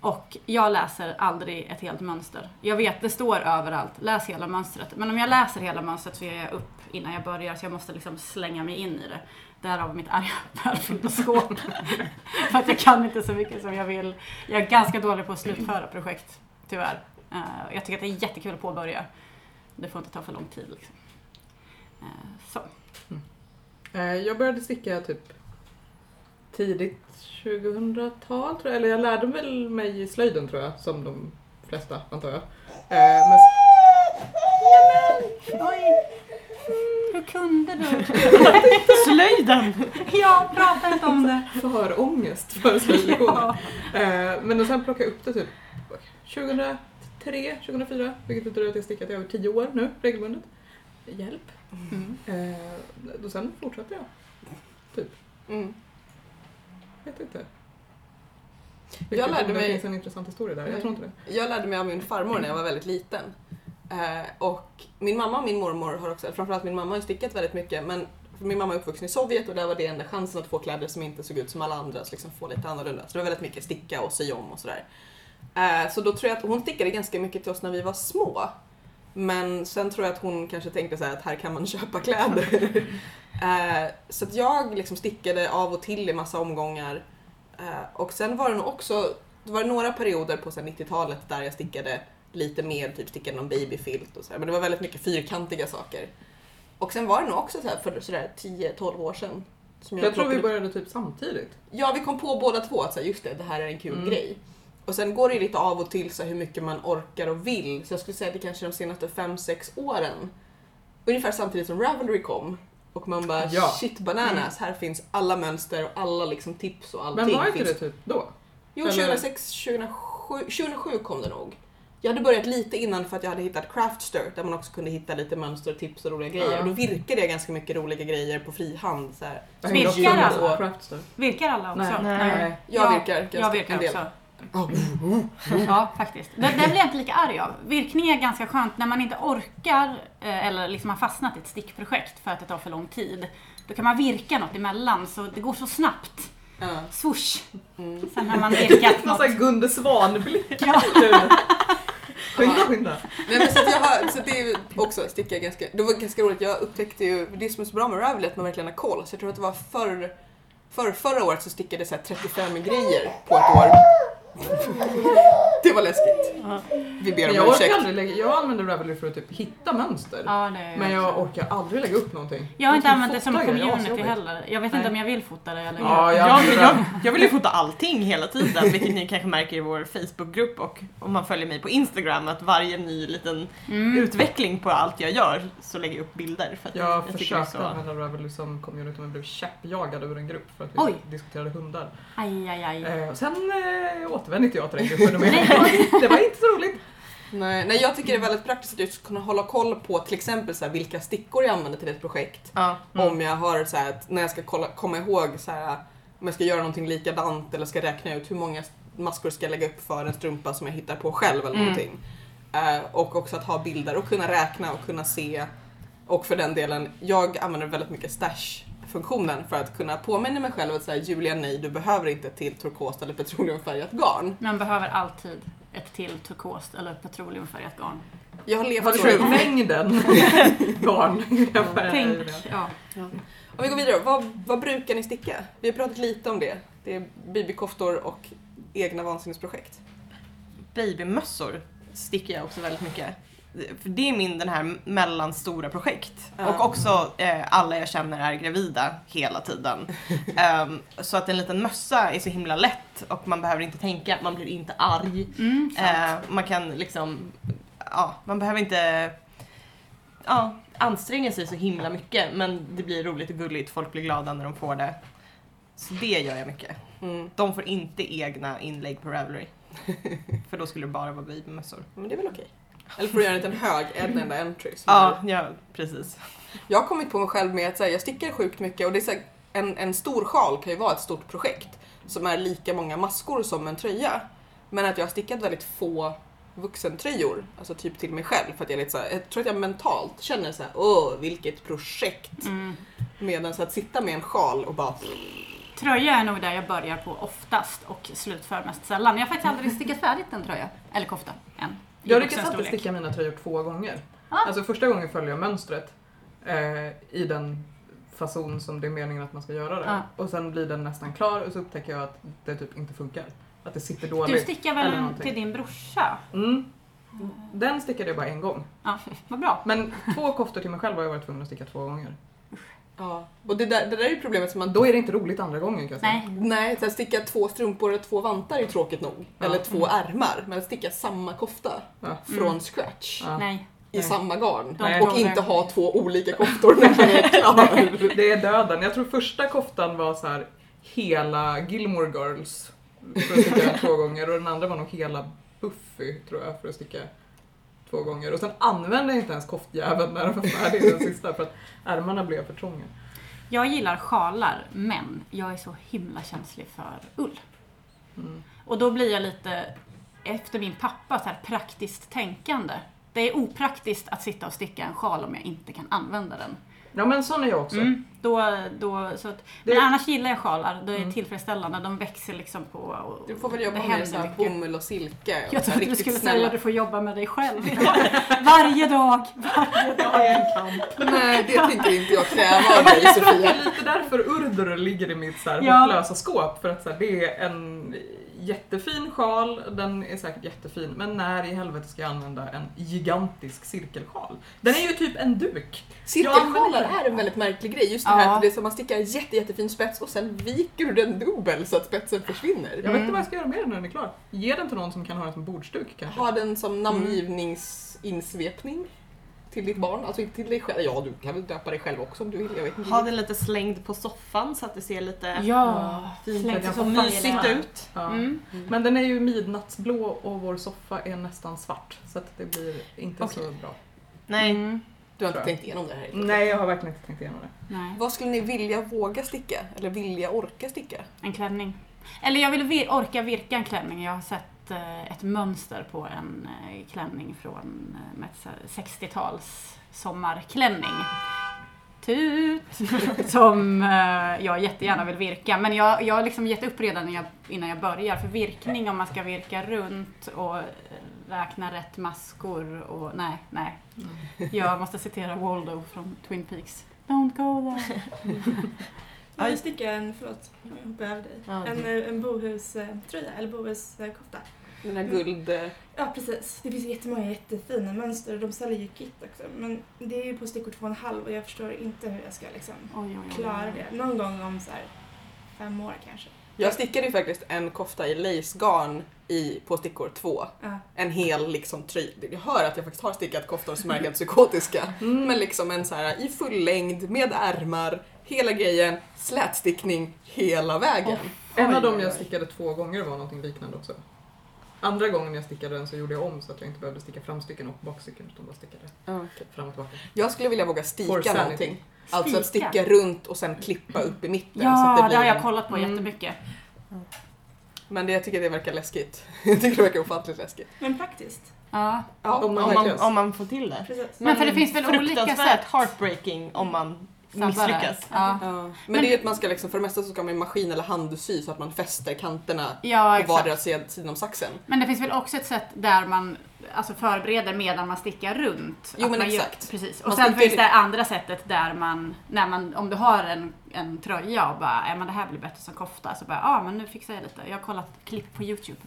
Speaker 4: Och jag läser aldrig ett helt mönster. Jag vet, det står överallt, läs hela mönstret. Men om jag läser hela mönstret så är jag upp innan jag börjar så jag måste liksom slänga mig in i det. Därav mitt arga pärlfilmsskåp. För att jag kan inte så mycket som jag vill. Jag är ganska dålig på att slutföra projekt, tyvärr. Eh, Jag tycker att det är jättekul att påbörja. Det får inte ta för lång tid. Liksom. Eh, Så.
Speaker 5: Eh, Jag började sticka typ tidigt 2000-tal tror jag, eller jag lärde väl mig i slöjden tror jag, som de flesta antar jag. Eh, Men
Speaker 4: Hur kunde du?
Speaker 3: Slöjden!
Speaker 4: Jag pratar inte om det.
Speaker 5: för ångest för slöjdlektioner. Eh, Men sen plockade jag upp det typ 2003, 2004, vilket betyder att jag stickat i över 10 år nu regelbundet. Hjälp.
Speaker 4: Mm.
Speaker 5: Eh, Och sen fortsatte jag.
Speaker 1: Mm.
Speaker 5: Vet inte.
Speaker 1: Jag lärde
Speaker 5: om Det
Speaker 1: mig-
Speaker 5: finns en intressant historia där, jag tror inte det.
Speaker 1: Jag lärde mig av min farmor när jag var väldigt liten. Eh, och min mamma och min mormor har också, framförallt min mamma har ju stickat väldigt mycket men för min mamma är uppvuxen i Sovjet och där var det enda chansen att få kläder som inte såg ut som alla andra, så liksom få lite annorlunda. Så det var väldigt mycket sticka och sy om och sådär. Eh, så då tror jag att hon stickade ganska mycket till oss när vi var små. Men sen tror jag att hon kanske tänkte så här att här kan man köpa kläder. Eh, så att jag liksom stickade av och till i massa omgångar. Eh, och sen var det nog också det var några perioder på så här 90-talet där jag stickade lite mer, typ stickade någon babyfilt och så här, Men det var väldigt mycket fyrkantiga saker. Och sen var det nog också så här för sådär 10-12 år sedan. Som
Speaker 5: Jag tror vi
Speaker 1: Mm. plockade-
Speaker 5: började typ samtidigt.
Speaker 1: Ja, vi kom på båda två att så här, just det, det här är en kul
Speaker 5: Mm.
Speaker 1: grej. Och sen går det ju lite av och till så här, hur mycket man orkar och vill. Så jag skulle säga att det kanske är de senaste 5-6 åren. Ungefär samtidigt som Ravelry kom. Och man bara
Speaker 5: Ja.
Speaker 1: shit bananas, här finns alla mönster och alla liksom, tips och allting.
Speaker 5: Men var inte
Speaker 1: finns
Speaker 5: det typ då?
Speaker 1: Jo,
Speaker 5: Eller-
Speaker 1: 2006, 2007, 2007 kom det nog. Jag hade börjat lite innan för att jag hade hittat Craftster där man också kunde hitta lite mönster och tips och roliga grejer.
Speaker 5: Ja.
Speaker 1: Och då virkade jag ganska mycket roliga grejer på frihand. Så här.
Speaker 5: Det hängde också
Speaker 4: Virkar
Speaker 5: med
Speaker 4: alla?
Speaker 5: på Craftster.
Speaker 4: Virkar alla också?
Speaker 3: Nej. Nej.
Speaker 1: Jag
Speaker 4: Ja,
Speaker 1: virkar ganska
Speaker 4: Jag
Speaker 1: en
Speaker 4: virkar
Speaker 1: del.
Speaker 4: också. Ja, faktiskt. Det, det blir jag inte lika arg av. Virkning är ganska skönt när man inte orkar eh, eller liksom har fastnat i ett stickprojekt för att det tar för lång tid. Då kan man virka något emellan så det går så snabbt.
Speaker 1: Ja.
Speaker 4: Swoosh!
Speaker 1: Mm.
Speaker 4: Sen har man virkat
Speaker 5: Någon
Speaker 4: något.
Speaker 5: sån här Gunde Svan-blick.
Speaker 4: Ja.
Speaker 5: Skynda, skynda.
Speaker 1: Nej, men så, att jag har, så det är ju också sticka ganska, det var ganska roligt, jag upptäckte ju, det som är så bra med Ravelry är att man verkligen har koll. Så jag tror att det var förr, förr, förra året så stickade jag så här 35 grejer på ett år. Det var läskigt. Vi
Speaker 5: Men
Speaker 1: ber
Speaker 5: jag
Speaker 1: om
Speaker 5: orkar
Speaker 1: ursäkt.
Speaker 5: aldrig lägga, jag använder Ravelry för att typ hitta mönster.
Speaker 4: Ja, det är
Speaker 5: Men jag
Speaker 4: också.
Speaker 5: orkar aldrig lägga upp någonting.
Speaker 4: jag har inte
Speaker 5: Liksom
Speaker 4: använt det som
Speaker 5: fotar jag, jag har
Speaker 4: community
Speaker 5: asjobbigt.
Speaker 4: heller. Jag vet inte om jag vill fota det eller
Speaker 5: Ja, jag
Speaker 3: jag,
Speaker 5: blir
Speaker 3: jag, jag vill ju fota allting hela tiden, vilket ni kanske märker i vår Facebookgrupp och om man följer mig på Instagram att varje ny liten
Speaker 4: Mm.
Speaker 3: utveckling på allt jag gör så lägger jag upp bilder. För att
Speaker 5: Jag
Speaker 3: tycker det är
Speaker 5: försökte använda Ravelry som community men blev käppjagad ur en grupp för att vi
Speaker 4: Oj.
Speaker 5: diskuterade hundar.
Speaker 4: Aj, aj, aj.
Speaker 5: Eh, och sen eh, återvände inte jag till den gruppen mer. Det var inte så roligt.
Speaker 1: Nej, nej, jag tycker det är väldigt praktiskt att just kunna hålla koll på till exempel så här, vilka stickor jag använder till ett projekt.
Speaker 3: Ja,
Speaker 5: Mm.
Speaker 3: Mm.
Speaker 1: Om jag har så här, att när jag ska kolla, komma ihåg så här, om jag ska göra någonting likadant eller ska räkna ut hur många maskor ska jag lägga upp för en strumpa som jag hittar på själv eller
Speaker 4: Mm.
Speaker 1: någonting. Eh, och också att ha bilder och kunna räkna och kunna se. Och för den delen, jag använder väldigt mycket stash-funktionen för att kunna påminna mig själv att så här, Julia nej, du behöver inte ett till turkost eller petroleumfärgat garn.
Speaker 4: Man behöver alltid ett till turkost eller petroleumfärgat garn.
Speaker 1: Jag har levt
Speaker 5: Vad
Speaker 1: så
Speaker 5: tror
Speaker 1: i-
Speaker 5: du? Mängden garn. Jag bara-
Speaker 4: Tänk, ja.
Speaker 1: Om vi går vidare, vad, vad brukar ni sticka? Vi har pratat lite om det. Det är BB-koftor och egna vansinnesprojekt.
Speaker 3: Babymössor sticker jag också väldigt mycket. För det är min den här mellanstora projekt.
Speaker 1: Ja.
Speaker 3: Och också eh, alla jag känner är gravida hela tiden. Ehm, så att en liten mössa är så himla lätt och man behöver inte tänka, man blir inte arg.
Speaker 4: Mm, sant.
Speaker 3: Eh, man kan liksom, ja, man behöver inte ja, anstränga sig så himla mycket men det blir roligt och gulligt, folk blir glada när de får det. Så det gör jag mycket.
Speaker 1: Mm.
Speaker 3: De får inte egna inlägg på Ravelry. För då skulle det bara vara babymössor.
Speaker 1: Men det är väl okej. Eller får du göra en liten hög, en enda entry. som
Speaker 3: Ja, ja precis.
Speaker 1: Jag har kommit på mig själv med att så här, jag stickar sjukt mycket och det är så här, en, en stor sjal kan ju vara ett stort projekt som är lika många maskor som en tröja. Men att jag har stickat väldigt få vuxentröjor, alltså typ till mig själv för att jag är lite så här, jag tror att jag mentalt känner så här, åh vilket projekt.
Speaker 4: Mm.
Speaker 1: Medan så att sitta med en sjal och bara
Speaker 4: Tröja är nog där jag börjar på oftast och slutför mest sällan. Jag har faktiskt
Speaker 5: Mm.
Speaker 4: aldrig stickat färdigt en tröja, eller kofta, än. I vuxen
Speaker 5: Jag lyckas alltid
Speaker 4: storlek.
Speaker 5: sticka mina tröjor två gånger.
Speaker 4: Ah.
Speaker 5: Alltså första gången följer jag mönstret eh, i den fason som det är meningen att man ska göra det.
Speaker 4: Ah.
Speaker 5: Och sen blir den nästan klar och så upptäcker jag att det typ inte funkar. Att det sitter dåligt.
Speaker 4: Du stickar väl
Speaker 5: eller
Speaker 4: en
Speaker 5: någonting.
Speaker 4: till din brorsa?
Speaker 5: Mm. Den stickade jag bara en gång.
Speaker 4: Ja, vad bra.
Speaker 5: Men två koftor till mig själv har jag varit tvungen att sticka två gånger.
Speaker 1: Ja. Och det där, det där är ju problemet som man
Speaker 5: Då är det inte roligt andra gången kan jag säga.
Speaker 4: Nej,
Speaker 1: Nej, så här, sticka två strumpor och två vantar är tråkigt nog.
Speaker 5: Ja.
Speaker 1: Eller två ärmar. Men att sticka samma kofta
Speaker 5: Ja.
Speaker 1: från
Speaker 4: Mm.
Speaker 1: scratch
Speaker 5: Ja.
Speaker 4: nej.
Speaker 1: i
Speaker 5: Nej.
Speaker 1: samman garn.
Speaker 4: De
Speaker 5: Nej.
Speaker 1: Och
Speaker 4: kommer-
Speaker 1: inte ha två olika koftor när man är klar.
Speaker 5: Det är döden. Jag tror första koftan var så här hela Gilmore Girls för att sticka den två gånger och den andra var nog hela Buffy tror jag för att sticka två gånger. Och sen använde jag inte ens koftjäveln när den var färdig den sista för att ärmarna blev för trånga.
Speaker 4: Jag gillar sjalar, men jag är så himla känslig för ull.
Speaker 5: Mm.
Speaker 4: Och då blir jag lite, efter min pappa, så här praktiskt tänkande. Det är opraktiskt att sitta och sticka en sjal om jag inte kan använda den.
Speaker 5: Ja men sån är jag också.
Speaker 4: Mm, då, då, så att,
Speaker 5: Det-
Speaker 4: Men annars gillar jag sjalar, det är
Speaker 5: Mm.
Speaker 4: tillfredsställande. De växer liksom på och
Speaker 1: Du får väl
Speaker 4: det
Speaker 1: jobba
Speaker 4: händer
Speaker 1: med så här
Speaker 4: mycket.
Speaker 1: bomull och silke. Och
Speaker 4: Jag
Speaker 1: så här
Speaker 4: trodde du
Speaker 1: riktigt
Speaker 4: skulle
Speaker 1: snälla.
Speaker 4: säga att du får jobba med dig själv. Varje dag!
Speaker 1: Nej, det tänker inte jag kräva av dig Sofia.
Speaker 5: Lite därför Urdur ligger i mitt så här
Speaker 4: Ja.
Speaker 5: hopplösa skåp för att så här, det är en jättefin sjal, den är säkert jättefin, men när i helvete ska jag använda en gigantisk cirkelsjal? Den är ju typ en duk.
Speaker 1: Cirkelsjalar
Speaker 5: Ja, men-
Speaker 1: är en väldigt märklig grej. Just det här
Speaker 4: Ja.
Speaker 1: att det är som man stickar en jätte, jättefin spets och sen viker du den dubbel så att spetsen försvinner.
Speaker 5: Jag vet
Speaker 4: Mm.
Speaker 5: inte vad jag ska göra med den när den är klar. Ge den till någon som kan ha den som bordsduk kanske.
Speaker 1: Ha den som namngivningsinsvepning till ditt barn, alltså inte till dig själv. Ja, du kan väl döpa dig själv också om du vill. Jag vet inte.
Speaker 3: Ha den lite slängd på soffan så att det ser lite
Speaker 4: Ja,
Speaker 3: fint
Speaker 4: släng
Speaker 3: ut
Speaker 4: på
Speaker 3: och
Speaker 4: familjen.
Speaker 3: mysigt ut.
Speaker 5: Ja.
Speaker 4: Mm.
Speaker 5: Men den är ju midnattsblå och vår soffa är nästan svart så att det blir inte så bra.
Speaker 3: Nej,
Speaker 4: Mm.
Speaker 1: Du har inte
Speaker 5: Tror jag.
Speaker 1: tänkt igenom det här.
Speaker 5: Nej, jag har verkligen inte tänkt igenom det.
Speaker 4: Nej.
Speaker 1: Vad skulle ni vilja våga sticka? Eller vilja orka sticka?
Speaker 4: En klänning. Eller jag vill vir- orka virka en klänning. Jag har sett eh, ett mönster på en eh, klänning från eh, med ett så här 60-tals sommarklänning. Tut! Som eh, jag jättegärna vill virka. Men jag, jag har liksom gett upp redan när jag, innan jag börjar. För virkning, om man ska virka runt och eh, räkna rätt maskor och nej, nej. Jag måste citera Waldo från Twin Peaks. Don't go there.
Speaker 2: Jag vill sticka en, förlåt, jag hoppar över dig.
Speaker 1: Ja,
Speaker 2: En, eh, en bohuströja, eller bohuskofta.
Speaker 1: Den här guld... eh,
Speaker 2: Ja, precis. Det finns jättemånga jättefina mönster och de säljer ju kit också. Men det är ju på stickor två och en halv och jag förstår inte hur jag ska liksom
Speaker 4: Oj, oj, oj.
Speaker 2: klara det. Någon gång om så här fem år kanske.
Speaker 1: Jag stickade ju faktiskt en kofta i lacegarn i, på stickor två.
Speaker 2: Ja.
Speaker 1: En hel liksom tröja. Jag hör att jag faktiskt har stickat koftor som är helt psykotiska.
Speaker 5: Mm.
Speaker 1: Men liksom en så här i full längd med ärmar, hela grejen, slätstickning hela vägen.
Speaker 5: En av
Speaker 1: Oj,
Speaker 5: dem
Speaker 1: oj,
Speaker 5: jag
Speaker 1: oj.
Speaker 5: stickade två gånger var någonting liknande också. Andra gången jag stickade den så gjorde jag om så att jag inte behövde sticka framstycken och bakstycken utan bara stickade typ fram och tillbaka.
Speaker 1: Jag skulle vilja våga
Speaker 5: For
Speaker 1: stika
Speaker 5: sanity.
Speaker 1: någonting. Alltså att
Speaker 4: Stika.
Speaker 1: sticka runt och sen klippa upp i mitten. så
Speaker 4: Ja,
Speaker 1: att
Speaker 4: det,
Speaker 1: det blir...
Speaker 4: har jag kollat på
Speaker 5: Mm.
Speaker 4: jättemycket.
Speaker 1: Men det, jag tycker det verkar läskigt. jag tycker det verkar ofantligt läskigt.
Speaker 2: Men praktiskt.
Speaker 4: Ja.
Speaker 1: Ja,
Speaker 5: Om man
Speaker 3: om, man,
Speaker 5: lyckas.
Speaker 3: om man får till det.
Speaker 2: Precis.
Speaker 4: Men, för det finns väl olika
Speaker 3: Fruktansvärt
Speaker 4: sätt?
Speaker 3: heartbreaking om man
Speaker 4: Snabbare.
Speaker 3: misslyckas.
Speaker 4: Ja,
Speaker 1: Ja. Men,
Speaker 4: Men-
Speaker 1: det är ju att man ska liksom, för det mesta så ska man ju maskin eller handsy så att man fäster kanterna
Speaker 4: ja
Speaker 1: på vardera
Speaker 4: exakt.
Speaker 1: sid- sidan om saxen.
Speaker 4: Men det finns väl också ett sätt där man alltså, förbereder medan man stickar runt?
Speaker 1: Jo,
Speaker 4: Att
Speaker 1: men
Speaker 4: man gör-
Speaker 1: exakt.
Speaker 4: precis. Och
Speaker 1: Man
Speaker 4: sen
Speaker 1: stickar
Speaker 4: finns
Speaker 1: ju-
Speaker 4: det andra sättet där man, när man, om du har en, en tröja och bara, ja men det här blir bättre som kofta, så bara, ja ah, men nu fixar jag lite. Jag har kollat klipp på YouTube.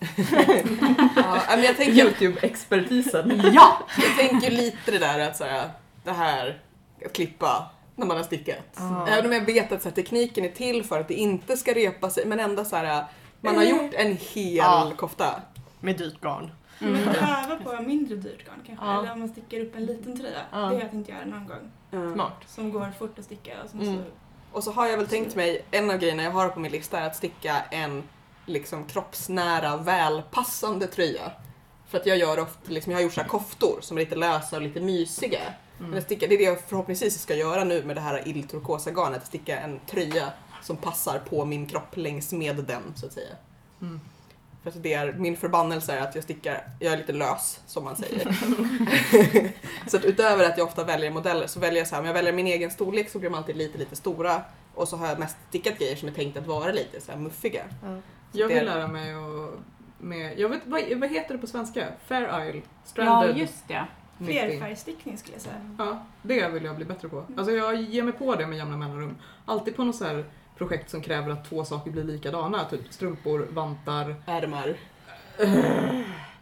Speaker 1: Ja, men jag tänker
Speaker 5: Youtube-expertisen.
Speaker 4: ja!
Speaker 1: Jag tänker lite det där att så här, det här att klippa när man har stickat. Även om jag vet att så här, tekniken är till för att det inte ska repa sig men ändå så här, man har gjort en hel
Speaker 3: Ja.
Speaker 1: kofta.
Speaker 3: Med dyrt garn.
Speaker 2: Men
Speaker 4: Mm.
Speaker 2: öva på mindre dyrt garn kanske.
Speaker 3: Ja.
Speaker 2: Eller om man stickar upp en liten tröja.
Speaker 3: Ja.
Speaker 2: Det har jag tänkt göra någon gång.
Speaker 3: Smart.
Speaker 2: Som går fort att sticka och som
Speaker 3: Mm.
Speaker 2: så
Speaker 1: Och så har jag väl tänkt mig, en av grejerna jag har på min lista är att sticka en liksom kroppsnära välpassande tröja. För att jag gör ofta, liksom, jag har gjort så här koftor som är lite lösa och lite mysiga. Men att sticka, det är det jag förhoppningsvis ska göra nu med det här illturkosa garnet, att sticka en tröja som passar på min kropp längs med den så att säga.
Speaker 5: Mm.
Speaker 1: För att det är, min förbannelse är att jag stickar, jag är lite lös som man säger. så att utöver att jag ofta väljer modeller så väljer jag så här, om jag väljer min egen storlek så blir de alltid lite lite stora. Och så har jag mest stickat grejer som är tänkt att vara lite så här muffiga.
Speaker 3: Ja.
Speaker 5: Jag
Speaker 1: Det-
Speaker 5: vill lära mig och med, jag vet, vad, vad heter det på svenska? Fair Isle?
Speaker 4: Ja,
Speaker 5: Stranded
Speaker 4: just det.
Speaker 5: knitting.
Speaker 2: Flerfärgstickning skulle jag säga.
Speaker 5: Ja, det vill jag bli bättre på. Alltså jag ger mig på det med jämna mellanrum. Alltid på något så här projekt som kräver att två saker blir likadana. Typ strumpor, vantar.
Speaker 1: Ärmar.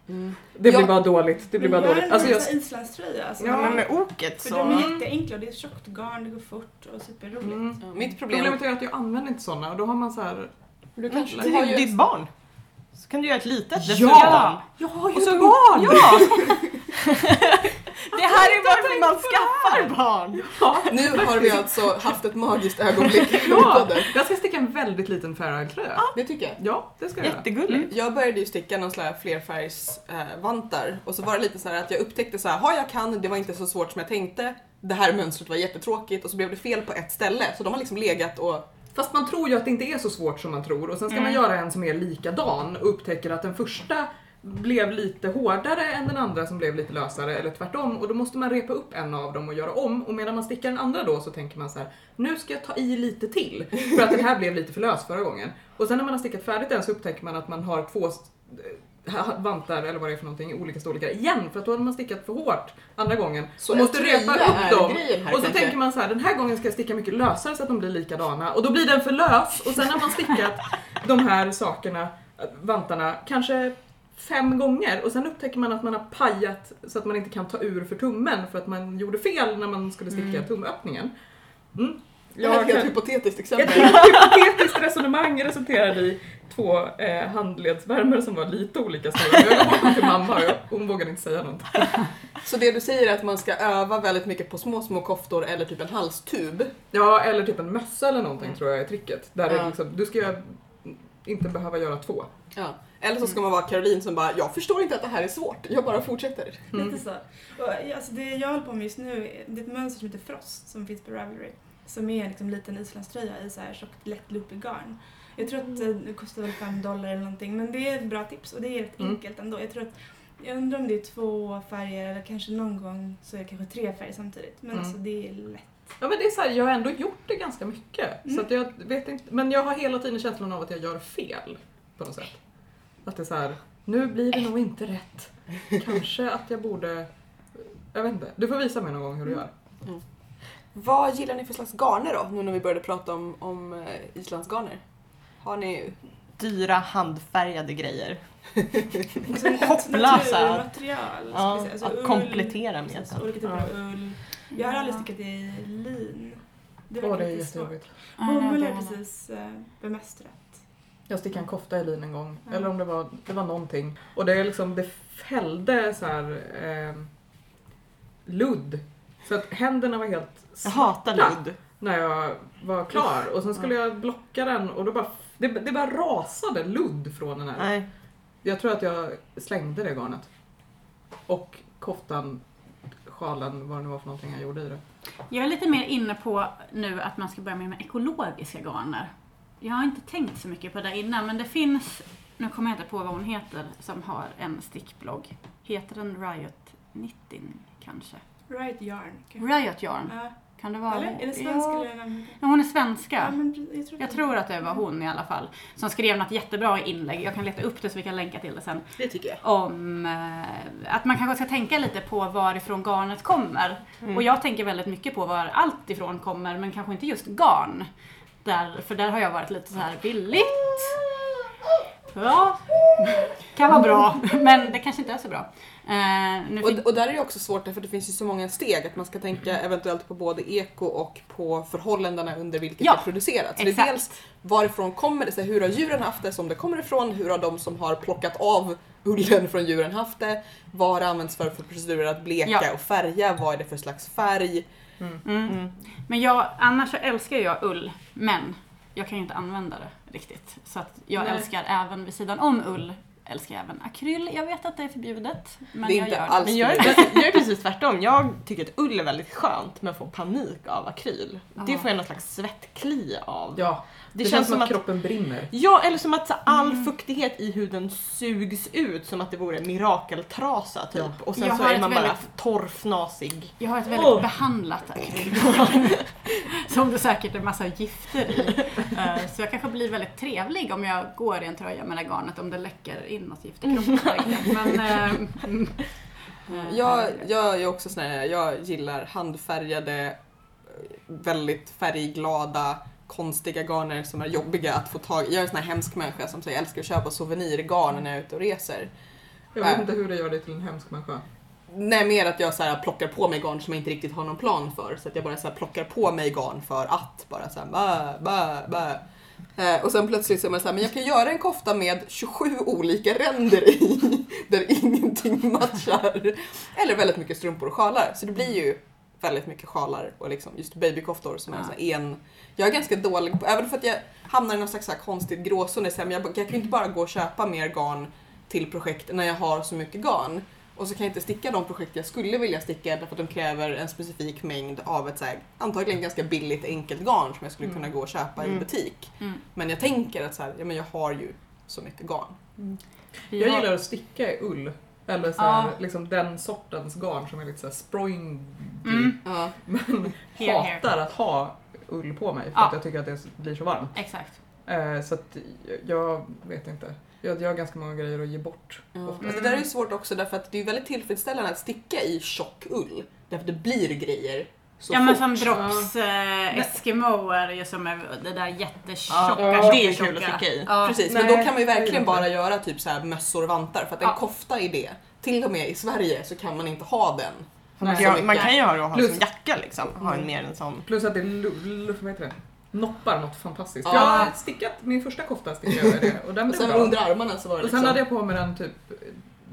Speaker 1: Mm.
Speaker 5: Det
Speaker 1: Ja.
Speaker 5: blir bara dåligt. Det blir bara dåligt. Alltså
Speaker 2: jag...
Speaker 5: jag,
Speaker 2: har en islandströja. Alltså,
Speaker 5: Ja,
Speaker 3: Men med oket
Speaker 2: för de
Speaker 3: så...
Speaker 2: är jätteenkla och det är tjockt garn, det går fort och superroligt.
Speaker 5: mm.
Speaker 1: Ja, mitt problem...
Speaker 5: Problemet är att jag använder inte sådana och då har man så här...
Speaker 1: Du
Speaker 3: Det
Speaker 1: kanske har
Speaker 3: är
Speaker 1: ju...
Speaker 3: ditt barn. Så kan du göra ett litet
Speaker 5: Ja!
Speaker 3: dessutom.
Speaker 5: Jag har ju
Speaker 3: Och så-
Speaker 5: ett barn!
Speaker 3: Ja! Det här är varför man skaffar barn!
Speaker 1: Nu har vi alltså haft ett magiskt ögonblick.
Speaker 5: Ja! Jag ska sticka en väldigt liten Fair Isle-tröja.
Speaker 1: Det tycker jag.
Speaker 5: Ja, det ska jag göra.
Speaker 3: Jättegulligt.
Speaker 1: Jag började ju sticka någon sån här flerfärgsvantar eh, vantar. och så var det lite så här att jag upptäckte så här, ha jag kan, det var inte så svårt som jag tänkte. Det här mönstret var jättetråkigt och så blev det fel på ett ställe så de har liksom legat och
Speaker 5: Fast man tror ju att det inte är så svårt som man tror och sen ska man
Speaker 1: Mm.
Speaker 5: göra en som är likadan och upptäcker att den första blev lite hårdare än den andra som blev lite lösare eller tvärtom och då måste man repa upp en av dem och göra om och medan man stickar den andra då så tänker man så här nu ska jag ta i lite till för att den här blev lite för lös förra gången och sen när man har stickat färdigt den så upptäcker man att man har två eh, vantar eller vad det är för någonting i olika storlekar igen för att då hade man stickat för hårt andra gången
Speaker 1: Så
Speaker 5: och måste
Speaker 1: en
Speaker 5: repa
Speaker 1: tröja är
Speaker 5: upp dem
Speaker 1: grejen här
Speaker 5: och så
Speaker 1: kanske.
Speaker 5: tänker man så här, den här gången ska jag sticka mycket lösare så att de blir likadana och då blir den för lös och sen har man stickat de här sakerna, eh, vantarna, kanske fem gånger och sen upptäcker man att man har pajat så att man inte kan ta ur för tummen för att man gjorde fel när man skulle sticka tumöppningen. Mm.
Speaker 1: det här är
Speaker 5: Jag
Speaker 1: ett helt hypotetiskt exempel.
Speaker 5: ett hypotetiskt resonemang resulterade i två eh, handledsvärmor som var lite olika stora. Jag gav bort dem till mamma och jag, hon vågade inte säga något.
Speaker 1: Så det du säger är att man ska öva väldigt mycket på små, små koftor eller typ en halstub.
Speaker 5: Ja, eller typ en mössa eller någonting tror jag är tricket. Där det
Speaker 1: Ja.
Speaker 5: liksom, du ska göra- inte behöva göra två.
Speaker 1: Ja. Eller så ska man vara Caroline som bara, jag förstår inte att det här är svårt, jag bara fortsätter.
Speaker 5: Mm.
Speaker 2: Lite så. Och, ja, alltså, det jag håller på med just nu, det är ett mönster som heter Frost som finns på Ravelry. Som är liksom en liten islandströja i så här tjockt lätt loopig garn. Jag tror att eh, det kostar väl 5 dollar eller någonting men det är ett bra tips och det är rätt
Speaker 5: Mm.
Speaker 2: enkelt ändå. Jag tror att jag undrar om det är två färger eller kanske någon gång så är det kanske tre färger samtidigt. Men
Speaker 5: Mm.
Speaker 2: alltså det är lätt.
Speaker 5: Ja men det är så här, jag har ändå gjort det ganska mycket.
Speaker 2: Mm.
Speaker 5: Så att jag vet inte, men jag har hela tiden känslan av att jag gör fel. På något sätt. Att det är så här, nu blir det nog inte rätt. Kanske att jag borde... Jag vet inte, du får visa mig någon gång hur du gör.
Speaker 1: Vad gillar ni för slags garner då, nu när vi började prata om, om eh, islandsgarner? Har ni...
Speaker 3: Dyra handfärgade grejer.
Speaker 2: Och så är det ett
Speaker 3: Hopplösa.
Speaker 2: Liksom Naturmaterial. ska
Speaker 3: Ja,
Speaker 2: vi säga. Alltså,
Speaker 3: att
Speaker 2: ull,
Speaker 3: komplettera med.
Speaker 2: precis, Olika typer av ull. Jag har aldrig
Speaker 4: Ja.
Speaker 2: stickat i lin. Det
Speaker 5: Åh
Speaker 2: verkar
Speaker 5: det är
Speaker 2: lite svårt.
Speaker 5: jättejobbigt.
Speaker 4: Ja, nej,
Speaker 2: Bomull
Speaker 4: det
Speaker 2: är
Speaker 4: har-
Speaker 2: precis eh, bemästrat.
Speaker 5: Jag stickade en kofta i lin en gång,
Speaker 2: Ja.
Speaker 5: eller om det var, det var någonting. Och det, är liksom, det fällde så här ehm, ludd. Så att händerna var helt
Speaker 3: Jag
Speaker 5: svarta
Speaker 3: hatar ludd.
Speaker 5: när jag var klar. Och sen skulle jag blocka den och då bara, det, det bara rasade ludd från den här.
Speaker 3: Nej.
Speaker 5: Jag tror att jag slängde det garnet. Och koftan, sjalen, vad det nu var för någonting jag gjorde i det.
Speaker 4: Jag är lite mer inne på nu att man ska börja med, med ekologiska garner. Jag har inte tänkt så mycket på det innan, men det finns, nu kommer jag inte på vad hon heter, som har en stickblogg. Heter den Riot Knitting kanske?
Speaker 2: Right yarn kanske.
Speaker 4: Riot Yarn,
Speaker 2: Ja,
Speaker 4: kan det vara?
Speaker 2: eller? Är det svensk
Speaker 4: Ja.
Speaker 2: eller en annan?
Speaker 4: Ja, hon är svenska.
Speaker 2: Ja, men jag tror,
Speaker 4: Jag tror att det var hon i alla fall, som skrev något jättebra inlägg, jag kan leta upp det så vi kan länka till det sen,
Speaker 1: Det tycker jag.
Speaker 4: om eh, att man kanske ska tänka lite på varifrån garnet kommer.
Speaker 1: Mm.
Speaker 4: Och jag tänker väldigt mycket på var allt ifrån kommer, men kanske inte just garn. Där, för där har jag varit lite så här billigt. Ja, kan vara bra, men det kanske inte är så bra. Eh, nu fick,
Speaker 1: Och, och där är det också svårt därför att det finns ju så många steg att man ska tänka eventuellt på både eko och på förhållandena under vilket
Speaker 4: Ja,
Speaker 1: det producerats. Så det är
Speaker 4: exakt.
Speaker 1: dels varifrån kommer det sig, hur har djuren haft det som det kommer ifrån, hur har de som har plockat av ullen från djuren haft det, vad har det använts för, för procedurer att bleka
Speaker 4: Ja.
Speaker 1: och färga, vad är det för slags färg.
Speaker 4: Mm. Men jag, annars så älskar jag ull, men jag kan ju inte använda det riktigt. Så att jag
Speaker 5: Nej.
Speaker 4: älskar även vid sidan om ull, älskar jag även akryl. Jag vet att det är förbjudet, men
Speaker 1: det är
Speaker 4: jag
Speaker 1: inte
Speaker 4: gör det.
Speaker 1: alls
Speaker 3: Men jag är,
Speaker 1: förbjudet.
Speaker 3: precis, jag är precis tvärtom. Jag tycker att ull är väldigt skönt men får panik av akryl.
Speaker 4: Ja.
Speaker 3: Det får jag någon slags svettkli av.
Speaker 5: Ja, Det, känns, som att, kroppen brinner.
Speaker 3: Ja, eller som att så, all
Speaker 2: Mm.
Speaker 3: fuktighet i huden sugs ut som att det vore mirakeltrasa typ.
Speaker 5: Ja.
Speaker 3: Och sen
Speaker 4: Jag
Speaker 3: så
Speaker 4: har
Speaker 3: är
Speaker 4: ett
Speaker 3: man bara
Speaker 4: väldigt-
Speaker 3: torr, fnasig.
Speaker 4: Jag har ett väldigt
Speaker 3: Åh.
Speaker 4: behandlat akryl. Som det säkert är massa gifter i. Eh, Så jag kanske blir väldigt trevlig om jag går i en tröja med det här garnet om det läcker in något gift i kroppen. verkligen. Men, eh, mm. Eh,
Speaker 1: Jag, jag är också sån här, jag gillar handfärgade, eh, väldigt färgglada, konstiga garner som är jobbiga att få tag i. Jag är en sån här hemsk människa som säger jag älskar att köpa souvenirgarn när jag är ute och reser.
Speaker 5: Jag vet inte hur det gör dig till en hemsk människa.
Speaker 1: Nej, mer att jag så här plockar på mig garn som jag inte riktigt har någon plan för. Så att jag bara så här plockar på mig garn för att. Bara så här, bä, bä, bä. Eh, och sen plötsligt så är man så här, men jag kan göra en kofta med 27 olika ränder i. Där ingenting matchar. Eller väldigt mycket strumpor och sjalar. Så det blir ju väldigt mycket sjalar och liksom just babykoftor som är
Speaker 4: Ja.
Speaker 1: så här en... Jag är ganska dålig på, även för att jag hamnar i någon slags så här konstig gråzon. Så här, men jag, jag kan ju inte bara gå och köpa mer garn till projekt när jag har så mycket garn. Och så kan jag inte sticka de projekt jag skulle vilja sticka därför att de kräver en specifik mängd av ett så här, antagligen ganska billigt enkelt garn som jag skulle
Speaker 3: Mm.
Speaker 1: kunna gå och köpa i
Speaker 3: Mm.
Speaker 1: butik.
Speaker 4: Mm.
Speaker 1: Men jag tänker att så här, ja, men jag har ju så mycket garn.
Speaker 4: Vi
Speaker 5: Jag
Speaker 4: har-
Speaker 5: gillar att sticka i ull. Eller så här,
Speaker 4: Ja.
Speaker 5: liksom den sortens garn som är lite såhär sproingig.
Speaker 4: Mm,
Speaker 1: Ja.
Speaker 5: typ. Men
Speaker 4: Here, here.
Speaker 5: hatar att ha ull på mig för
Speaker 4: Ja.
Speaker 5: att jag tycker att det blir så varmt.
Speaker 4: exakt.
Speaker 5: Eh, så att jag vet inte. Jag, jag har ganska många grejer att ge bort.
Speaker 1: Men alltså, det där är ju svårt också därför att det är ju väldigt tillfredsställande att sticka i tjock ull. Därför att det blir grejer så
Speaker 4: ja men
Speaker 1: fort.
Speaker 4: som Drops eh, Eskimo är ju som är det där jättetjocka,
Speaker 5: Ja,
Speaker 3: det är kul
Speaker 4: tjocka.
Speaker 3: att sticka i.
Speaker 4: Ja.
Speaker 1: Precis, men
Speaker 5: Nej,
Speaker 1: då kan man ju
Speaker 5: det är
Speaker 1: verkligen
Speaker 5: inte.
Speaker 1: bara göra typ så här mössor och vantar för att en
Speaker 4: Ja.
Speaker 1: kofta är det. Till och med i Sverige så kan man inte ha den.
Speaker 3: Man
Speaker 5: Nej.
Speaker 3: kan, ju- man kan ju ha det och ha
Speaker 5: Plus-
Speaker 3: som jacka liksom. Ha en mer en sån.
Speaker 5: Plus att det lull, vad heter det? noppar något fantastiskt.
Speaker 1: Ja.
Speaker 5: Jag har stickat, min första kofta stickade jag med det och den
Speaker 1: Och
Speaker 5: blev
Speaker 1: sen
Speaker 5: bra.
Speaker 1: under armarna så var det
Speaker 5: Och
Speaker 1: liksom...
Speaker 5: sen hade jag på mig den typ,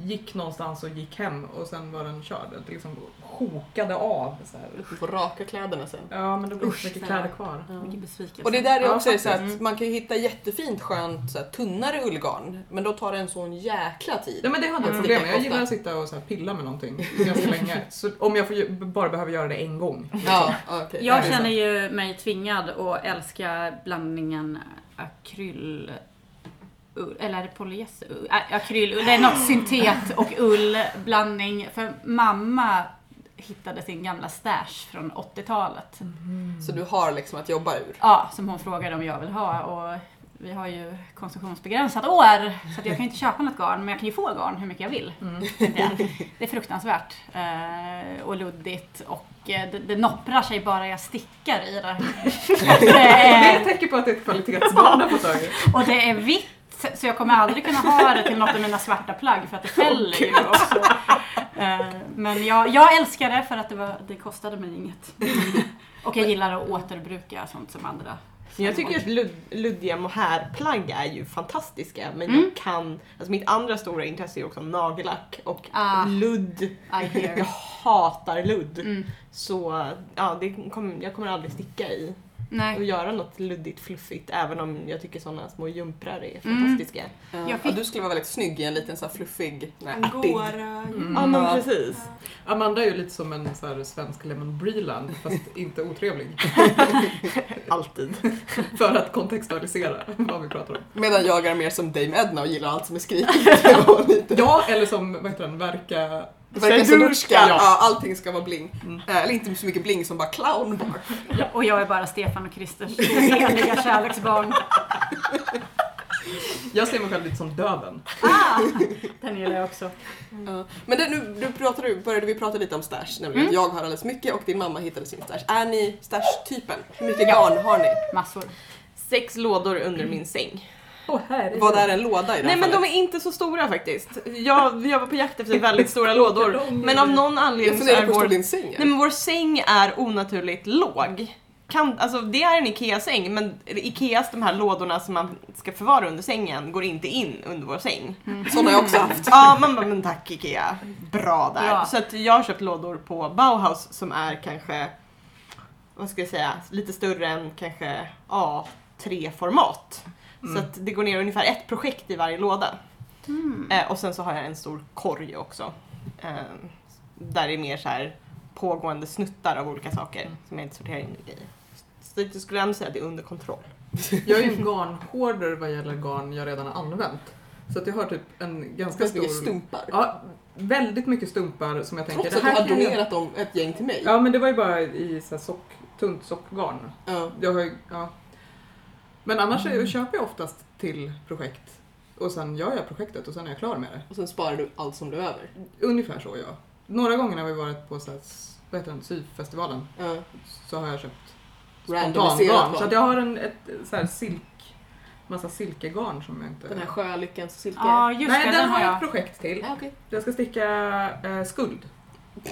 Speaker 5: gick någonstans och gick hem och sen var den körd. Det liksom sjokade av. Så här.
Speaker 1: Får raka kläderna sen.
Speaker 5: Ja men det blev
Speaker 4: Usch,
Speaker 5: inte mycket kläder kvar.
Speaker 4: Vilken besvikelse.
Speaker 1: Och det där är
Speaker 5: Ja,
Speaker 1: också så
Speaker 5: faktiskt.
Speaker 1: att man kan ju hitta jättefint skönt så här, tunnare ullgarn men då tar det en sån jäkla
Speaker 5: Nej
Speaker 1: tid.
Speaker 5: men det hade jag
Speaker 1: Mm.
Speaker 5: problem med. Jag
Speaker 1: Sticka
Speaker 5: gillar
Speaker 1: kofta.
Speaker 5: att sitta och så här pilla med någonting ganska länge. Så om jag får, ju- bara behöver göra det en gång.
Speaker 1: Ja, okej.
Speaker 4: Jag känner ju mig tvingad att älska blandningen akryl... ull- Eller är det polyester? Ull- äh, Akrylull. Det är något syntet och ullblandning. För mamma hittade sin gamla stash från 80-talet.
Speaker 1: Så du har liksom att jobba ur.
Speaker 4: Ja, som hon frågade om jag vill ha. Och vi har ju konsumtionsbegränsat år, så att jag kan ju inte köpa något garn, men jag kan ju få garn hur mycket jag vill.
Speaker 5: Mm.
Speaker 4: tänkte jag. Det är fruktansvärt eh, och luddigt och eh, det, det nopprar sig bara jag stickar i det. det
Speaker 5: Det är ett
Speaker 4: är,
Speaker 5: tecken på att det är ett kvalitetsbarn har fått tag i.
Speaker 4: och det är vitt, så jag kommer aldrig kunna ha det till något av mina svarta plagg för att det fäller ju också. Eh, men jag, jag älskar det för att det, var, det kostade mig inget. Och jag gillar att återbruka sånt som andra.
Speaker 3: Jag tycker att lud, luddiga mohairplagg är ju fantastiska men
Speaker 4: Mm.
Speaker 3: jag kan, alltså mitt andra stora intresse är också nagellack och
Speaker 4: Ah.
Speaker 3: ludd.
Speaker 4: I hear.
Speaker 3: Jag hatar ludd.
Speaker 4: Mm.
Speaker 3: Så ja, det kommer, jag kommer aldrig sticka i och
Speaker 4: Nej.
Speaker 3: göra något luddigt fluffigt även om jag tycker sådana små jumprar är
Speaker 4: Mm.
Speaker 3: fantastiska.
Speaker 1: Ja,
Speaker 4: Jag fick-
Speaker 1: Du skulle vara väldigt snygg i en liten så här fluffig, nej, appig.
Speaker 2: Angora.
Speaker 5: Mm.
Speaker 3: Ja men
Speaker 1: Ja.
Speaker 3: precis.
Speaker 5: Amanda är ju lite som en så här svensk Lemon Breland fast inte otrevlig.
Speaker 3: Alltid.
Speaker 5: För att kontextualisera vad vi pratar om.
Speaker 1: Medan jag är mer som Dame Edna och gillar allt som är skrikigt. och lite-
Speaker 5: Ja, eller som vad heter den, Verka...
Speaker 1: Det verkar som
Speaker 3: Sedurska.
Speaker 1: Urska. Ja, allting ska vara bling.
Speaker 5: Mm.
Speaker 1: Eh, Eller inte så mycket bling som bara clown bara.
Speaker 4: Och jag är bara Stefan och Kristers heliga kärleksbarn.
Speaker 5: Jag ser mig själv lite som döden.
Speaker 4: Ah, den gillar jag också.
Speaker 1: Ja. Men det, nu nu pratade, du- började vi prata lite om stash, nämligen att jag har alldeles mycket och din mamma hittade sin stash. Är ni stash-typen? Hur mycket garn har ni?
Speaker 4: Massor.
Speaker 3: Sex lådor under min säng.
Speaker 5: Åh herregud.
Speaker 1: Vad är en låda i det
Speaker 3: Nej
Speaker 1: här
Speaker 3: men de
Speaker 1: fallet?
Speaker 3: är inte så stora faktiskt. Jag, jag var på jakt efter väldigt stora lådor men av någon
Speaker 1: Jag
Speaker 3: anledning så
Speaker 1: funderar på
Speaker 3: är
Speaker 1: hur stor
Speaker 3: vår
Speaker 1: din säng
Speaker 3: Nej
Speaker 1: är.
Speaker 3: men vår säng är onaturligt låg. Kan, alltså, det är en IKEA-säng men IKEAs de här lådorna som man ska förvara under sängen går inte in under vår säng.
Speaker 4: Mm.
Speaker 1: Sådana har jag också haft.
Speaker 3: Ja man bara, men tack IKEA. Bra där.
Speaker 4: Ja.
Speaker 3: Så att jag har köpt lådor på Bauhaus som är kanske, vad ska jag säga, lite större än kanske A3-format.
Speaker 1: Mm.
Speaker 3: Så att det går ner ungefär ett projekt i varje låda.
Speaker 4: Mm.
Speaker 1: Mm.
Speaker 3: Eh, och sen så har jag en stor korg också. Eh,
Speaker 1: Mm.
Speaker 3: där det är mer så här pågående snuttar av olika saker som jag inte sorterar in i. Så du skulle ändå säga att det är under kontroll.
Speaker 5: Jag är ju en garnhoarder vad gäller garn jag redan har använt. Så att jag har typ en ganska
Speaker 1: Ganska mycket
Speaker 5: stor...
Speaker 1: stumpar.
Speaker 5: Ja, väldigt mycket stumpar som jag tänker...
Speaker 1: Trots
Speaker 5: det
Speaker 1: att du har
Speaker 5: kan jag-
Speaker 1: donerat dem ett gäng till mig.
Speaker 5: Ja, men det var ju bara i så här sock, tunt sockgarn.
Speaker 1: Ja.
Speaker 5: Jag har, ju- ja. Men annars är- köper jag oftast till projekt och sen gör jag projektet och sen är jag klar med det.
Speaker 1: Och sen sparar du allt som blev över.
Speaker 5: Ungefär så ja. Några gånger när vi varit på så här, s- vad heter den, syfestivalen
Speaker 1: Ja.
Speaker 5: så har jag köpt
Speaker 1: Randomiserat
Speaker 5: spontangarn. Så att jag har en ett, så här, silk, massa silkegarn som jag inte...
Speaker 1: Den här sjölyckans silke.
Speaker 4: Ja, just
Speaker 5: Nej,
Speaker 4: det.
Speaker 5: den, har jag ett projekt till.
Speaker 1: Ja, okej.
Speaker 5: Jag ska sticka eh, skuld.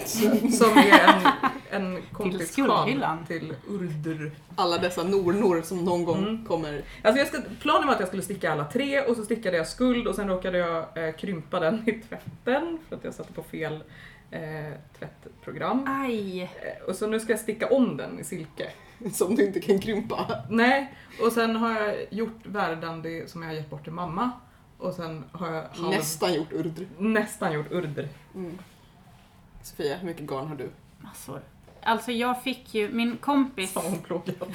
Speaker 5: som är en, en kompis
Speaker 4: skuldhyllan.
Speaker 5: till Urdur.
Speaker 1: Alla dessa nornor som någon gång
Speaker 5: Mm.
Speaker 1: kommer.
Speaker 5: Alltså jag ska, planen var att jag skulle sticka alla tre och så stickade jag skuld och sen råkade jag eh, krympa den i tvätten för att jag satte på fel eh, tvättprogram.
Speaker 4: Aj!
Speaker 5: Eh, och så nu ska jag sticka om den i silke.
Speaker 1: Som du inte kan krympa.
Speaker 5: Nej, och sen har jag gjort värdandi som jag har gett bort till mamma och sen har jag halv,
Speaker 1: Nästan gjort urdr.
Speaker 5: nästan gjort urder.
Speaker 1: Mm. Sofia, hur mycket garn har du?
Speaker 4: Massor. Alltså jag fick ju, min kompis
Speaker 5: Som hon plågat.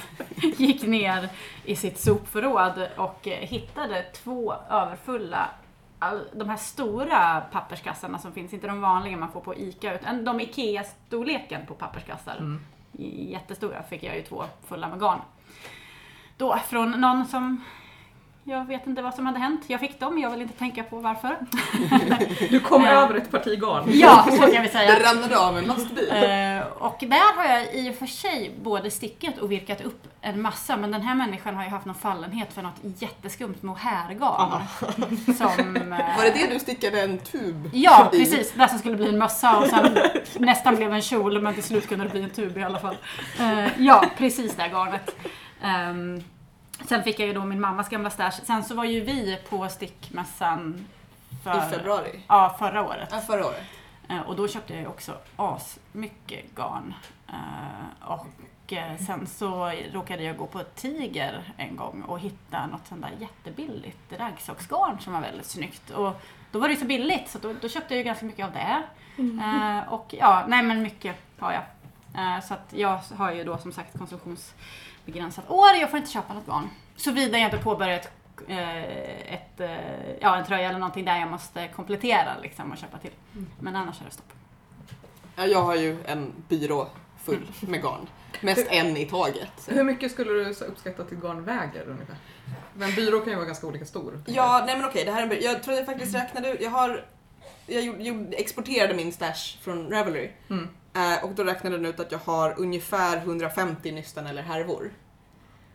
Speaker 4: gick ner i sitt sopförråd och eh, hittade två överfulla all- de här stora papperskassarna som finns, inte de vanliga man får på ICA, utan de IKEA-storleken på papperskassar.
Speaker 5: Mm.
Speaker 4: J- Jättestora fick jag ju två fulla med garn. Då från någon som, jag vet inte vad som hade hänt. Jag fick dem, jag vill inte tänka på varför.
Speaker 5: Du kom
Speaker 4: Eh.
Speaker 5: över ett parti garn.
Speaker 4: Ja, så kan vi säga.
Speaker 1: Det ramlade av en lastbil.
Speaker 4: Eh, och där har jag i och för sig både stickat och virkat upp en massa, men den här människan har ju haft någon fallenhet för något jätteskumt mohairgarn. Som, eh,
Speaker 1: Var det det du stickade en tub
Speaker 4: Ja,
Speaker 1: i?
Speaker 4: precis. Där som skulle bli en mössa och sen nästan blev en kjol, men till slut kunde det bli en tub i alla fall. Eh, ja, precis det här garnet. Ehm, sen fick jag ju då min mammas gamla stash. Sen så var ju vi på stickmässan för,
Speaker 1: I februari?
Speaker 4: Ja, förra året.
Speaker 1: Ja, förra året.
Speaker 4: Eh, Och då köpte jag ju också asmycket garn. Eh, Och eh, sen så råkade jag gå på Tiger en gång och hitta något sånt där jättebilligt raggsocksgarn som var väldigt snyggt. Och då var det ju så billigt så då, då köpte jag ju ganska mycket av det.
Speaker 2: Mm.
Speaker 4: Eh, Och ja, nej men mycket har jag. Eh, Så att jag har ju då som sagt konsumtionsbegränsat år. Jag får inte köpa något garn. Såvida jag inte påbörjar ett, eh, ett, eh, ja, en tröja eller någonting där jag måste komplettera liksom och köpa till. Men annars är det stopp.
Speaker 1: Ja, jag har ju en byrå full med garn. Mest en i taget.
Speaker 5: Hur mycket skulle du så uppskatta att ditt garn väger ungefär? Men en byrå kan ju vara ganska olika stor.
Speaker 1: Ja, nej men okej, det här är en byrå. Jag tror jag faktiskt räknade ut, jag har, jag gjorde, gjorde, exporterade min stash från Ravelry.
Speaker 5: Mm.
Speaker 1: Eh, och då räknade den ut att jag har ungefär 150 nystan eller härvor.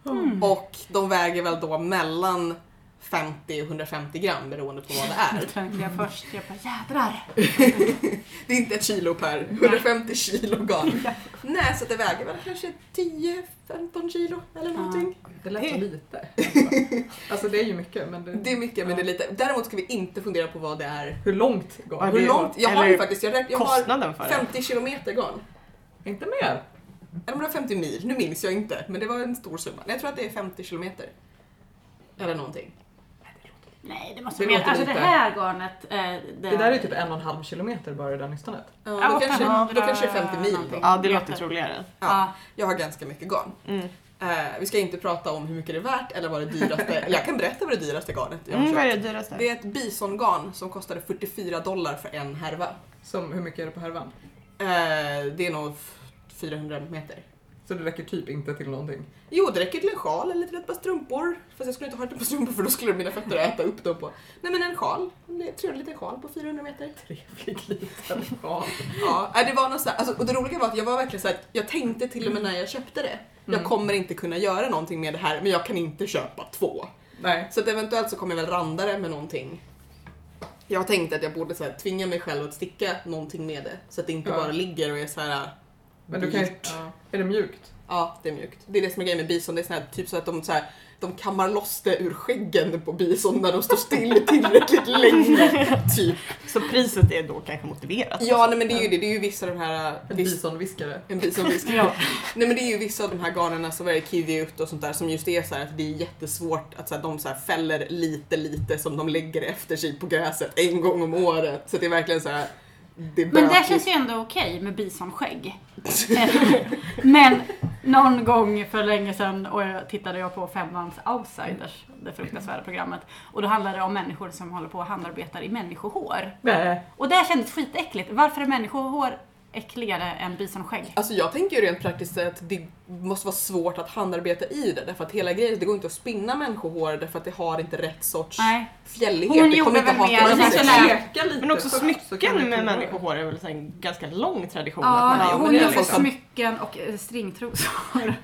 Speaker 4: Mm.
Speaker 5: Mm.
Speaker 1: Och de väger väl då mellan 50 och 150 gram beroende på vad det
Speaker 4: Då
Speaker 1: är.
Speaker 4: tänkte
Speaker 5: Mm.
Speaker 4: jag först, jag bara jädrar.
Speaker 1: Det är inte ett kilo per, 150 kilo garn. Nej, så att det väger väl kanske 10-15 kilo eller någonting.
Speaker 5: Det lät så lite. Alltså det är ju mycket men det...
Speaker 1: Det är mycket men det är lite. Däremot ska vi inte fundera på vad det är.
Speaker 5: Hur långt garn?
Speaker 3: Ja, det-
Speaker 1: Hur långt? Jag har
Speaker 3: eller
Speaker 1: ju faktiskt, jag, räknar- jag har
Speaker 3: Kostnaden för det.
Speaker 1: 50 kilometer garn.
Speaker 5: Inte mer?
Speaker 1: Eller om det var 50 mil, nu minns jag inte. Men det var en stor summa. Nej, Jag tror att det är 50 kilometer. Eller någonting.
Speaker 4: Nej, det måste
Speaker 5: Det
Speaker 4: vara mer.
Speaker 5: låter
Speaker 4: Alltså det
Speaker 5: lite.
Speaker 4: här garnet. Eh, det,
Speaker 5: Det där är typ en och en halv kilometer bara i det där nystanet.
Speaker 1: Ja, då, kanske, då kanske det är 50 mil. Då.
Speaker 3: Ja, det låter troligare.
Speaker 1: Ja, jag har ganska mycket garn.
Speaker 3: Mm.
Speaker 1: Eh, vi ska inte prata om hur mycket det är värt eller vad det dyraste... eller jag kan berätta vad det dyraste garnet jag har
Speaker 3: Mm, vad är
Speaker 1: köpt.
Speaker 3: det dyraste?
Speaker 1: Det är ett bisongarn som kostade 44 dollar för en härva.
Speaker 5: Som, hur mycket är det på härvan?
Speaker 1: Eh, det är nog f- 400 meter.
Speaker 5: Så det räcker typ inte till någonting.
Speaker 1: Jo, det räcker till en sjal eller till ett par strumpor. Fast jag skulle inte ha ett par strumpor för då skulle mina fötter äta upp dem på. Nej men en sjal. En trevlig liten sjal på 400 meter.
Speaker 5: Trevlig liten garn.
Speaker 1: Ja, nej, det var något så här, alltså, och det roliga var att jag var verkligen så här, jag tänkte till och med när jag köpte det. Jag
Speaker 5: Mm.
Speaker 1: kommer inte kunna göra någonting med det här men jag kan inte köpa två.
Speaker 5: Nej.
Speaker 1: Så att eventuellt så kommer jag väl randa det med någonting. Jag tänkte att jag borde så här, tvinga mig själv att sticka någonting med det. Så att det inte
Speaker 5: Ja.
Speaker 1: bara ligger och är så här. äh,
Speaker 5: Men du kan ju... Ja. Är det mjukt?
Speaker 1: Ja, det är mjukt. Det är det som är grejen med bison. Det är sån här, typ så att de, så här, de kammar loss det ur skäggen på bison när de står still tillräckligt länge. Typ.
Speaker 3: Så priset är då kanske motiverat?
Speaker 1: Ja, nej, men det är ju det. Det är ju vissa av de här...
Speaker 5: En bisonviskare.
Speaker 1: En bisonfisk.
Speaker 4: Ja.
Speaker 1: Nej men det är ju vissa av de här garnerna som är kiwiut och sånt där som just är så här att det är jättesvårt att så här, de så här fäller lite lite som de lägger efter sig på gräset en gång om året. Så det är verkligen så här. Det är
Speaker 4: Men det
Speaker 1: bökigt.
Speaker 4: känns ju ändå okej med bisonskägg. men någon gång för länge sedan och jag tittade jag på Femmans Outsiders, det fruktansvärda programmet. Och då handlade det om människor som håller på och handarbetar i människohår.
Speaker 5: Nej.
Speaker 4: Och det här kändes skitäckligt. Varför är människohår äckligare än bisonskägg?
Speaker 1: Alltså jag tänker ju rent praktiskt att det måste vara svårt att handarbeta i det därför att hela grejen, det går inte att spinna människohår därför att det har inte rätt sorts
Speaker 4: Nej.
Speaker 1: fjällighet.
Speaker 4: Hon
Speaker 1: det
Speaker 4: gjorde
Speaker 1: kommer inte
Speaker 4: väl mer
Speaker 1: ha
Speaker 4: den här
Speaker 1: till-
Speaker 4: sån här-
Speaker 3: Men också smycken med människohår är väl så en ganska lång tradition
Speaker 4: Ja,
Speaker 3: att man har
Speaker 4: hon
Speaker 3: gjort det,
Speaker 4: gjorde
Speaker 1: liksom.
Speaker 4: smycken och eh, stringtrosor.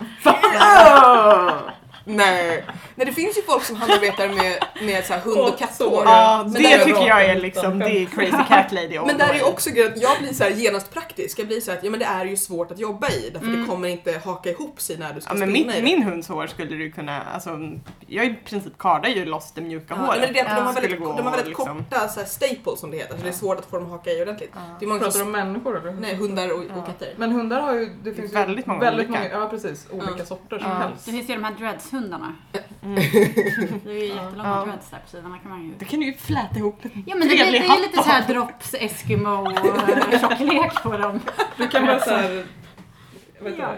Speaker 1: Nej. Nej, det finns ju folk som handarbetar med, med så här hund och
Speaker 5: Och
Speaker 1: katthår.
Speaker 5: så,
Speaker 3: Ja,
Speaker 1: Men
Speaker 3: det
Speaker 1: där-
Speaker 3: tycker jag är liksom, det är crazy cat lady
Speaker 1: Men där är ju
Speaker 3: ongoing.
Speaker 1: också grejen att jag blir så här genast praktisk. Jag blir så här att ja, men det är ju svårt att jobba i därför
Speaker 4: Mm.
Speaker 1: det kommer inte haka ihop sig när du ska
Speaker 3: Ja, men
Speaker 1: spinna
Speaker 3: min,
Speaker 1: i det.
Speaker 3: min hunds hår skulle du kunna, alltså, jag i princip kardar ju loss det mjuka
Speaker 1: Ja,
Speaker 3: håret.
Speaker 1: men det är det att de
Speaker 4: Ja.
Speaker 1: har väldigt,
Speaker 3: Skulle gå
Speaker 1: de har väldigt
Speaker 3: liksom.
Speaker 1: korta så här, staples som det heter, så det är svårt att få dem att haka i ordentligt. Det är många
Speaker 5: Pratar du
Speaker 1: som,
Speaker 5: om människor eller?
Speaker 1: nej, hundar och,
Speaker 3: Ja.
Speaker 1: och katter.
Speaker 5: Men hundar har ju, det finns ju
Speaker 3: Väldigt många olika.
Speaker 5: ja precis, olika
Speaker 1: Ja.
Speaker 5: sorter som
Speaker 3: Ja.
Speaker 5: helst.
Speaker 4: Det finns ju de här dreadshundarna. Det är ju jättelånga
Speaker 3: Ja.
Speaker 4: dreads där på sidorna kan man ju...
Speaker 3: Då Mm. kan du ju fläta ihop en
Speaker 4: Ja men det, blir-
Speaker 3: trevlig
Speaker 4: det är
Speaker 3: hatt
Speaker 4: ju lite såhär
Speaker 3: av.
Speaker 4: drops Eskimo-tjocklek på dem.
Speaker 5: Du kan bara såhär, vad heter
Speaker 4: Ja.
Speaker 5: det?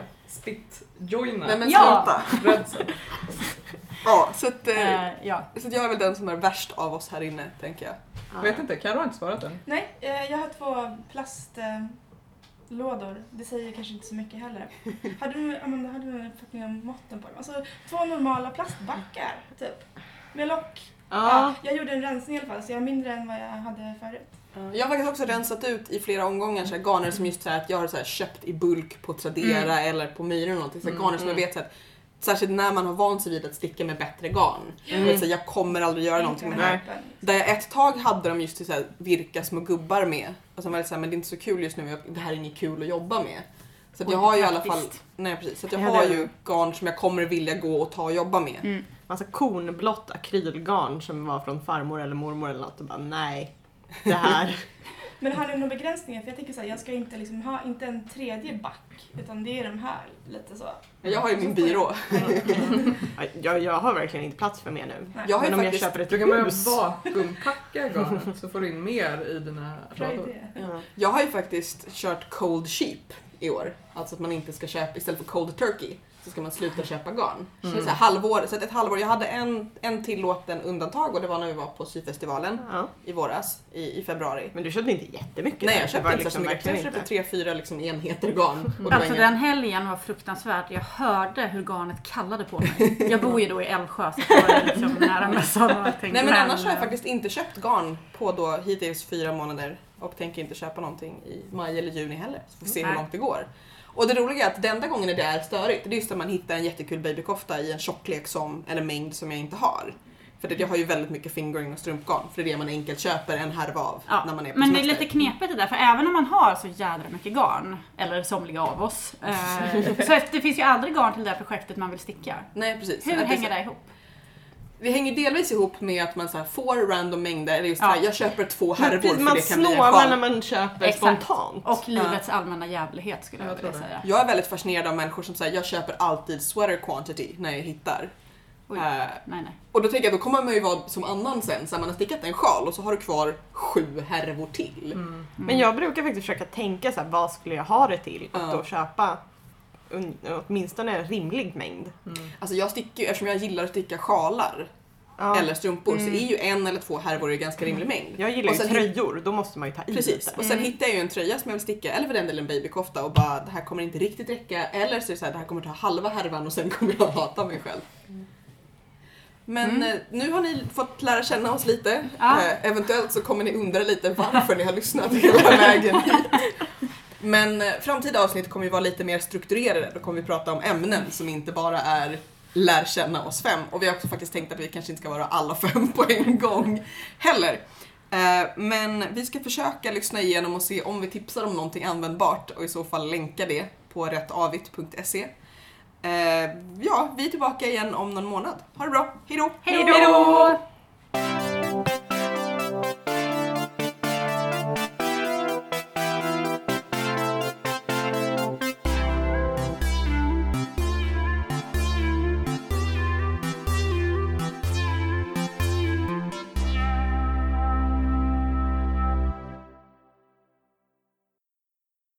Speaker 5: Spit-joina.
Speaker 1: Nej men
Speaker 4: Ja.
Speaker 1: sluta!
Speaker 5: Redsen.
Speaker 1: Ja, så att, eh,
Speaker 4: Eh, ja.
Speaker 1: så att jag är väl den som är värst av oss här inne, tänker jag.
Speaker 5: Jag vet inte, Carro har inte svarat än.
Speaker 2: Nej, eh, jag har två plastlådor. Det säger kanske inte så mycket heller. Har du, Amanda, har du en uppfattning om måtten på dem? Alltså två normala plastbackar, typ. Med lock.
Speaker 3: Ja.
Speaker 2: jag gjorde en rensning i alla fall, så jag har mindre än vad jag hade förut.
Speaker 1: Jag har faktiskt också rensat ut i flera omgångar så här, garner som just så här, att jag har så här, köpt i bulk på Tradera eller på Myren eller någonting. Så här,
Speaker 5: Mm,
Speaker 1: garner som jag vet så här, att Särskilt när man har vant sig vid att sticka med bättre garn.
Speaker 3: Mm.
Speaker 1: Mm. Så här, jag kommer aldrig göra någonting med det här.
Speaker 2: liksom.
Speaker 1: Där jag ett tag hade dem just till så här, virka små gubbar med. Och sen var det så här, men det är inte så kul just nu, jag, det här är inget kul att jobba med. Så att jag har ju i alla fall,
Speaker 4: Praktiskt.
Speaker 1: nej precis, så att jag
Speaker 3: Ja, det
Speaker 1: har
Speaker 3: är det.
Speaker 1: ju garn som jag kommer vilja gå och ta och jobba med.
Speaker 4: Mm.
Speaker 3: Massa kornblått akrylgarn som var från farmor eller mormor eller något och bara nej. Det här.
Speaker 2: Men har ni några begränsningar? För jag tänker så här, jag ska inte liksom ha inte en tredje back, utan det är de här lite så.
Speaker 1: Jag har ju min byrå.
Speaker 3: jag, jag har verkligen inte plats för mer nu.
Speaker 1: Jag har
Speaker 3: Men
Speaker 1: ju
Speaker 3: om jag
Speaker 1: faktiskt
Speaker 3: köper ett
Speaker 5: Du kan börja
Speaker 3: hus.
Speaker 5: vakuumpacka garnet så får du in mer i dina
Speaker 2: Bra
Speaker 5: rador.
Speaker 2: idé.
Speaker 3: Ja.
Speaker 1: Jag har ju faktiskt kört cold sheep i år. Alltså att man inte ska köpa, istället för cold turkey, så ska man sluta köpa garn. Så, det är så, här
Speaker 3: Mm.
Speaker 1: halvår, så att ett halvår, jag hade en, en tillåten undantag och det var när vi var på syfestivalen
Speaker 3: Ja.
Speaker 1: i våras, i, i februari.
Speaker 3: Men du köpte inte jättemycket.
Speaker 1: Nej
Speaker 3: där.
Speaker 1: jag
Speaker 3: Det
Speaker 1: köpte
Speaker 3: var liksom
Speaker 1: inte så mycket, jag
Speaker 3: verkligen
Speaker 1: köpte
Speaker 3: inte.
Speaker 1: tre, fyra liksom enheter garn. Och det var
Speaker 4: Alltså
Speaker 1: inga-
Speaker 4: den helgen var fruktansvärt. Jag hörde hur garnet kallade på mig. Jag bor ju då i Älvsjö så det var liksom nära mössan och allting.
Speaker 1: Nej men annars har jag faktiskt inte köpt garn på då hittills fyra månader och tänker inte köpa någonting i maj eller juni heller. Så får vi se hur
Speaker 4: Nej.
Speaker 1: långt det går. Och det roliga är att den enda gången när det är störigt, det är just när man hittar en jättekul babykofta i en tjocklek som, eller mängd som jag inte har. För det, jag har ju väldigt mycket fingering och strumpgarn, för det är det man enkelt köper en härva av
Speaker 4: Ja,
Speaker 1: när man är på
Speaker 4: men det är
Speaker 1: semester.
Speaker 4: lite knepigt det där, för även om man har så jädra mycket garn, eller somliga av oss, eh, så att det finns ju aldrig garn till det här projektet man vill sticka.
Speaker 1: Nej precis.
Speaker 4: Hur
Speaker 1: Att det-
Speaker 4: hänger det ihop?
Speaker 1: Det hänger delvis ihop med att man så här får random mängder, eller just
Speaker 4: Ja.
Speaker 1: så här, jag köper två härvor
Speaker 3: Precis,
Speaker 1: för
Speaker 3: man
Speaker 1: det kan bli en
Speaker 3: snålar
Speaker 1: sjal.
Speaker 3: när man köper
Speaker 4: Exakt.
Speaker 3: spontant.
Speaker 4: Och livets allmänna jävlighet skulle jag
Speaker 5: Jag
Speaker 4: vilja
Speaker 5: tror det.
Speaker 4: säga.
Speaker 1: Jag är väldigt fascinerad av människor som säger jag köper alltid sweater quantity när jag hittar.
Speaker 4: Oj.
Speaker 1: Eh,
Speaker 4: Nej, nej.
Speaker 1: och då tänker jag, då kommer man ju vara som annan sen, så här, man har stickat en sjal och så har du kvar sju härvor till.
Speaker 5: Mm.
Speaker 3: Men jag brukar faktiskt försöka tänka så här, vad skulle jag ha det till? Och
Speaker 1: Ja.
Speaker 3: då köpa un- åtminstone en rimlig mängd.
Speaker 5: Mm.
Speaker 1: Alltså jag sticker ju, eftersom jag gillar att sticka sjalar
Speaker 3: Ja.
Speaker 1: eller strumpor så är ju en eller två härvor i ganska rimlig mängd.
Speaker 3: Jag gillar
Speaker 1: Och
Speaker 3: ju
Speaker 1: sen-
Speaker 3: tröjor, då måste man ju ta i
Speaker 1: Precis,
Speaker 3: lite.
Speaker 1: och sen hittar jag ju en tröja som jag vill sticka, eller för den delen en babykofta och bara det här kommer inte riktigt räcka. Eller så är det så här, det här kommer ta halva härvan och sen kommer jag hata mig själv. Men eh, nu har ni fått lära känna oss lite.
Speaker 4: Ja.
Speaker 1: Eh, eventuellt så kommer ni undra lite varför ni har lyssnat hela vägen hit. Men eh, framtida avsnitt kommer ju vara lite mer strukturerade. Då kommer vi prata om ämnen som inte bara är lär känna oss fem. Och vi har också faktiskt tänkt att vi kanske inte ska vara alla fem på en gång heller. Eh, Men vi ska försöka lyssna igenom och se om vi tipsar om någonting användbart och i så fall länka det på rättavit.se. Eh, Ja, vi är tillbaka igen om någon månad. Ha det bra, hejdå!
Speaker 4: Hej då!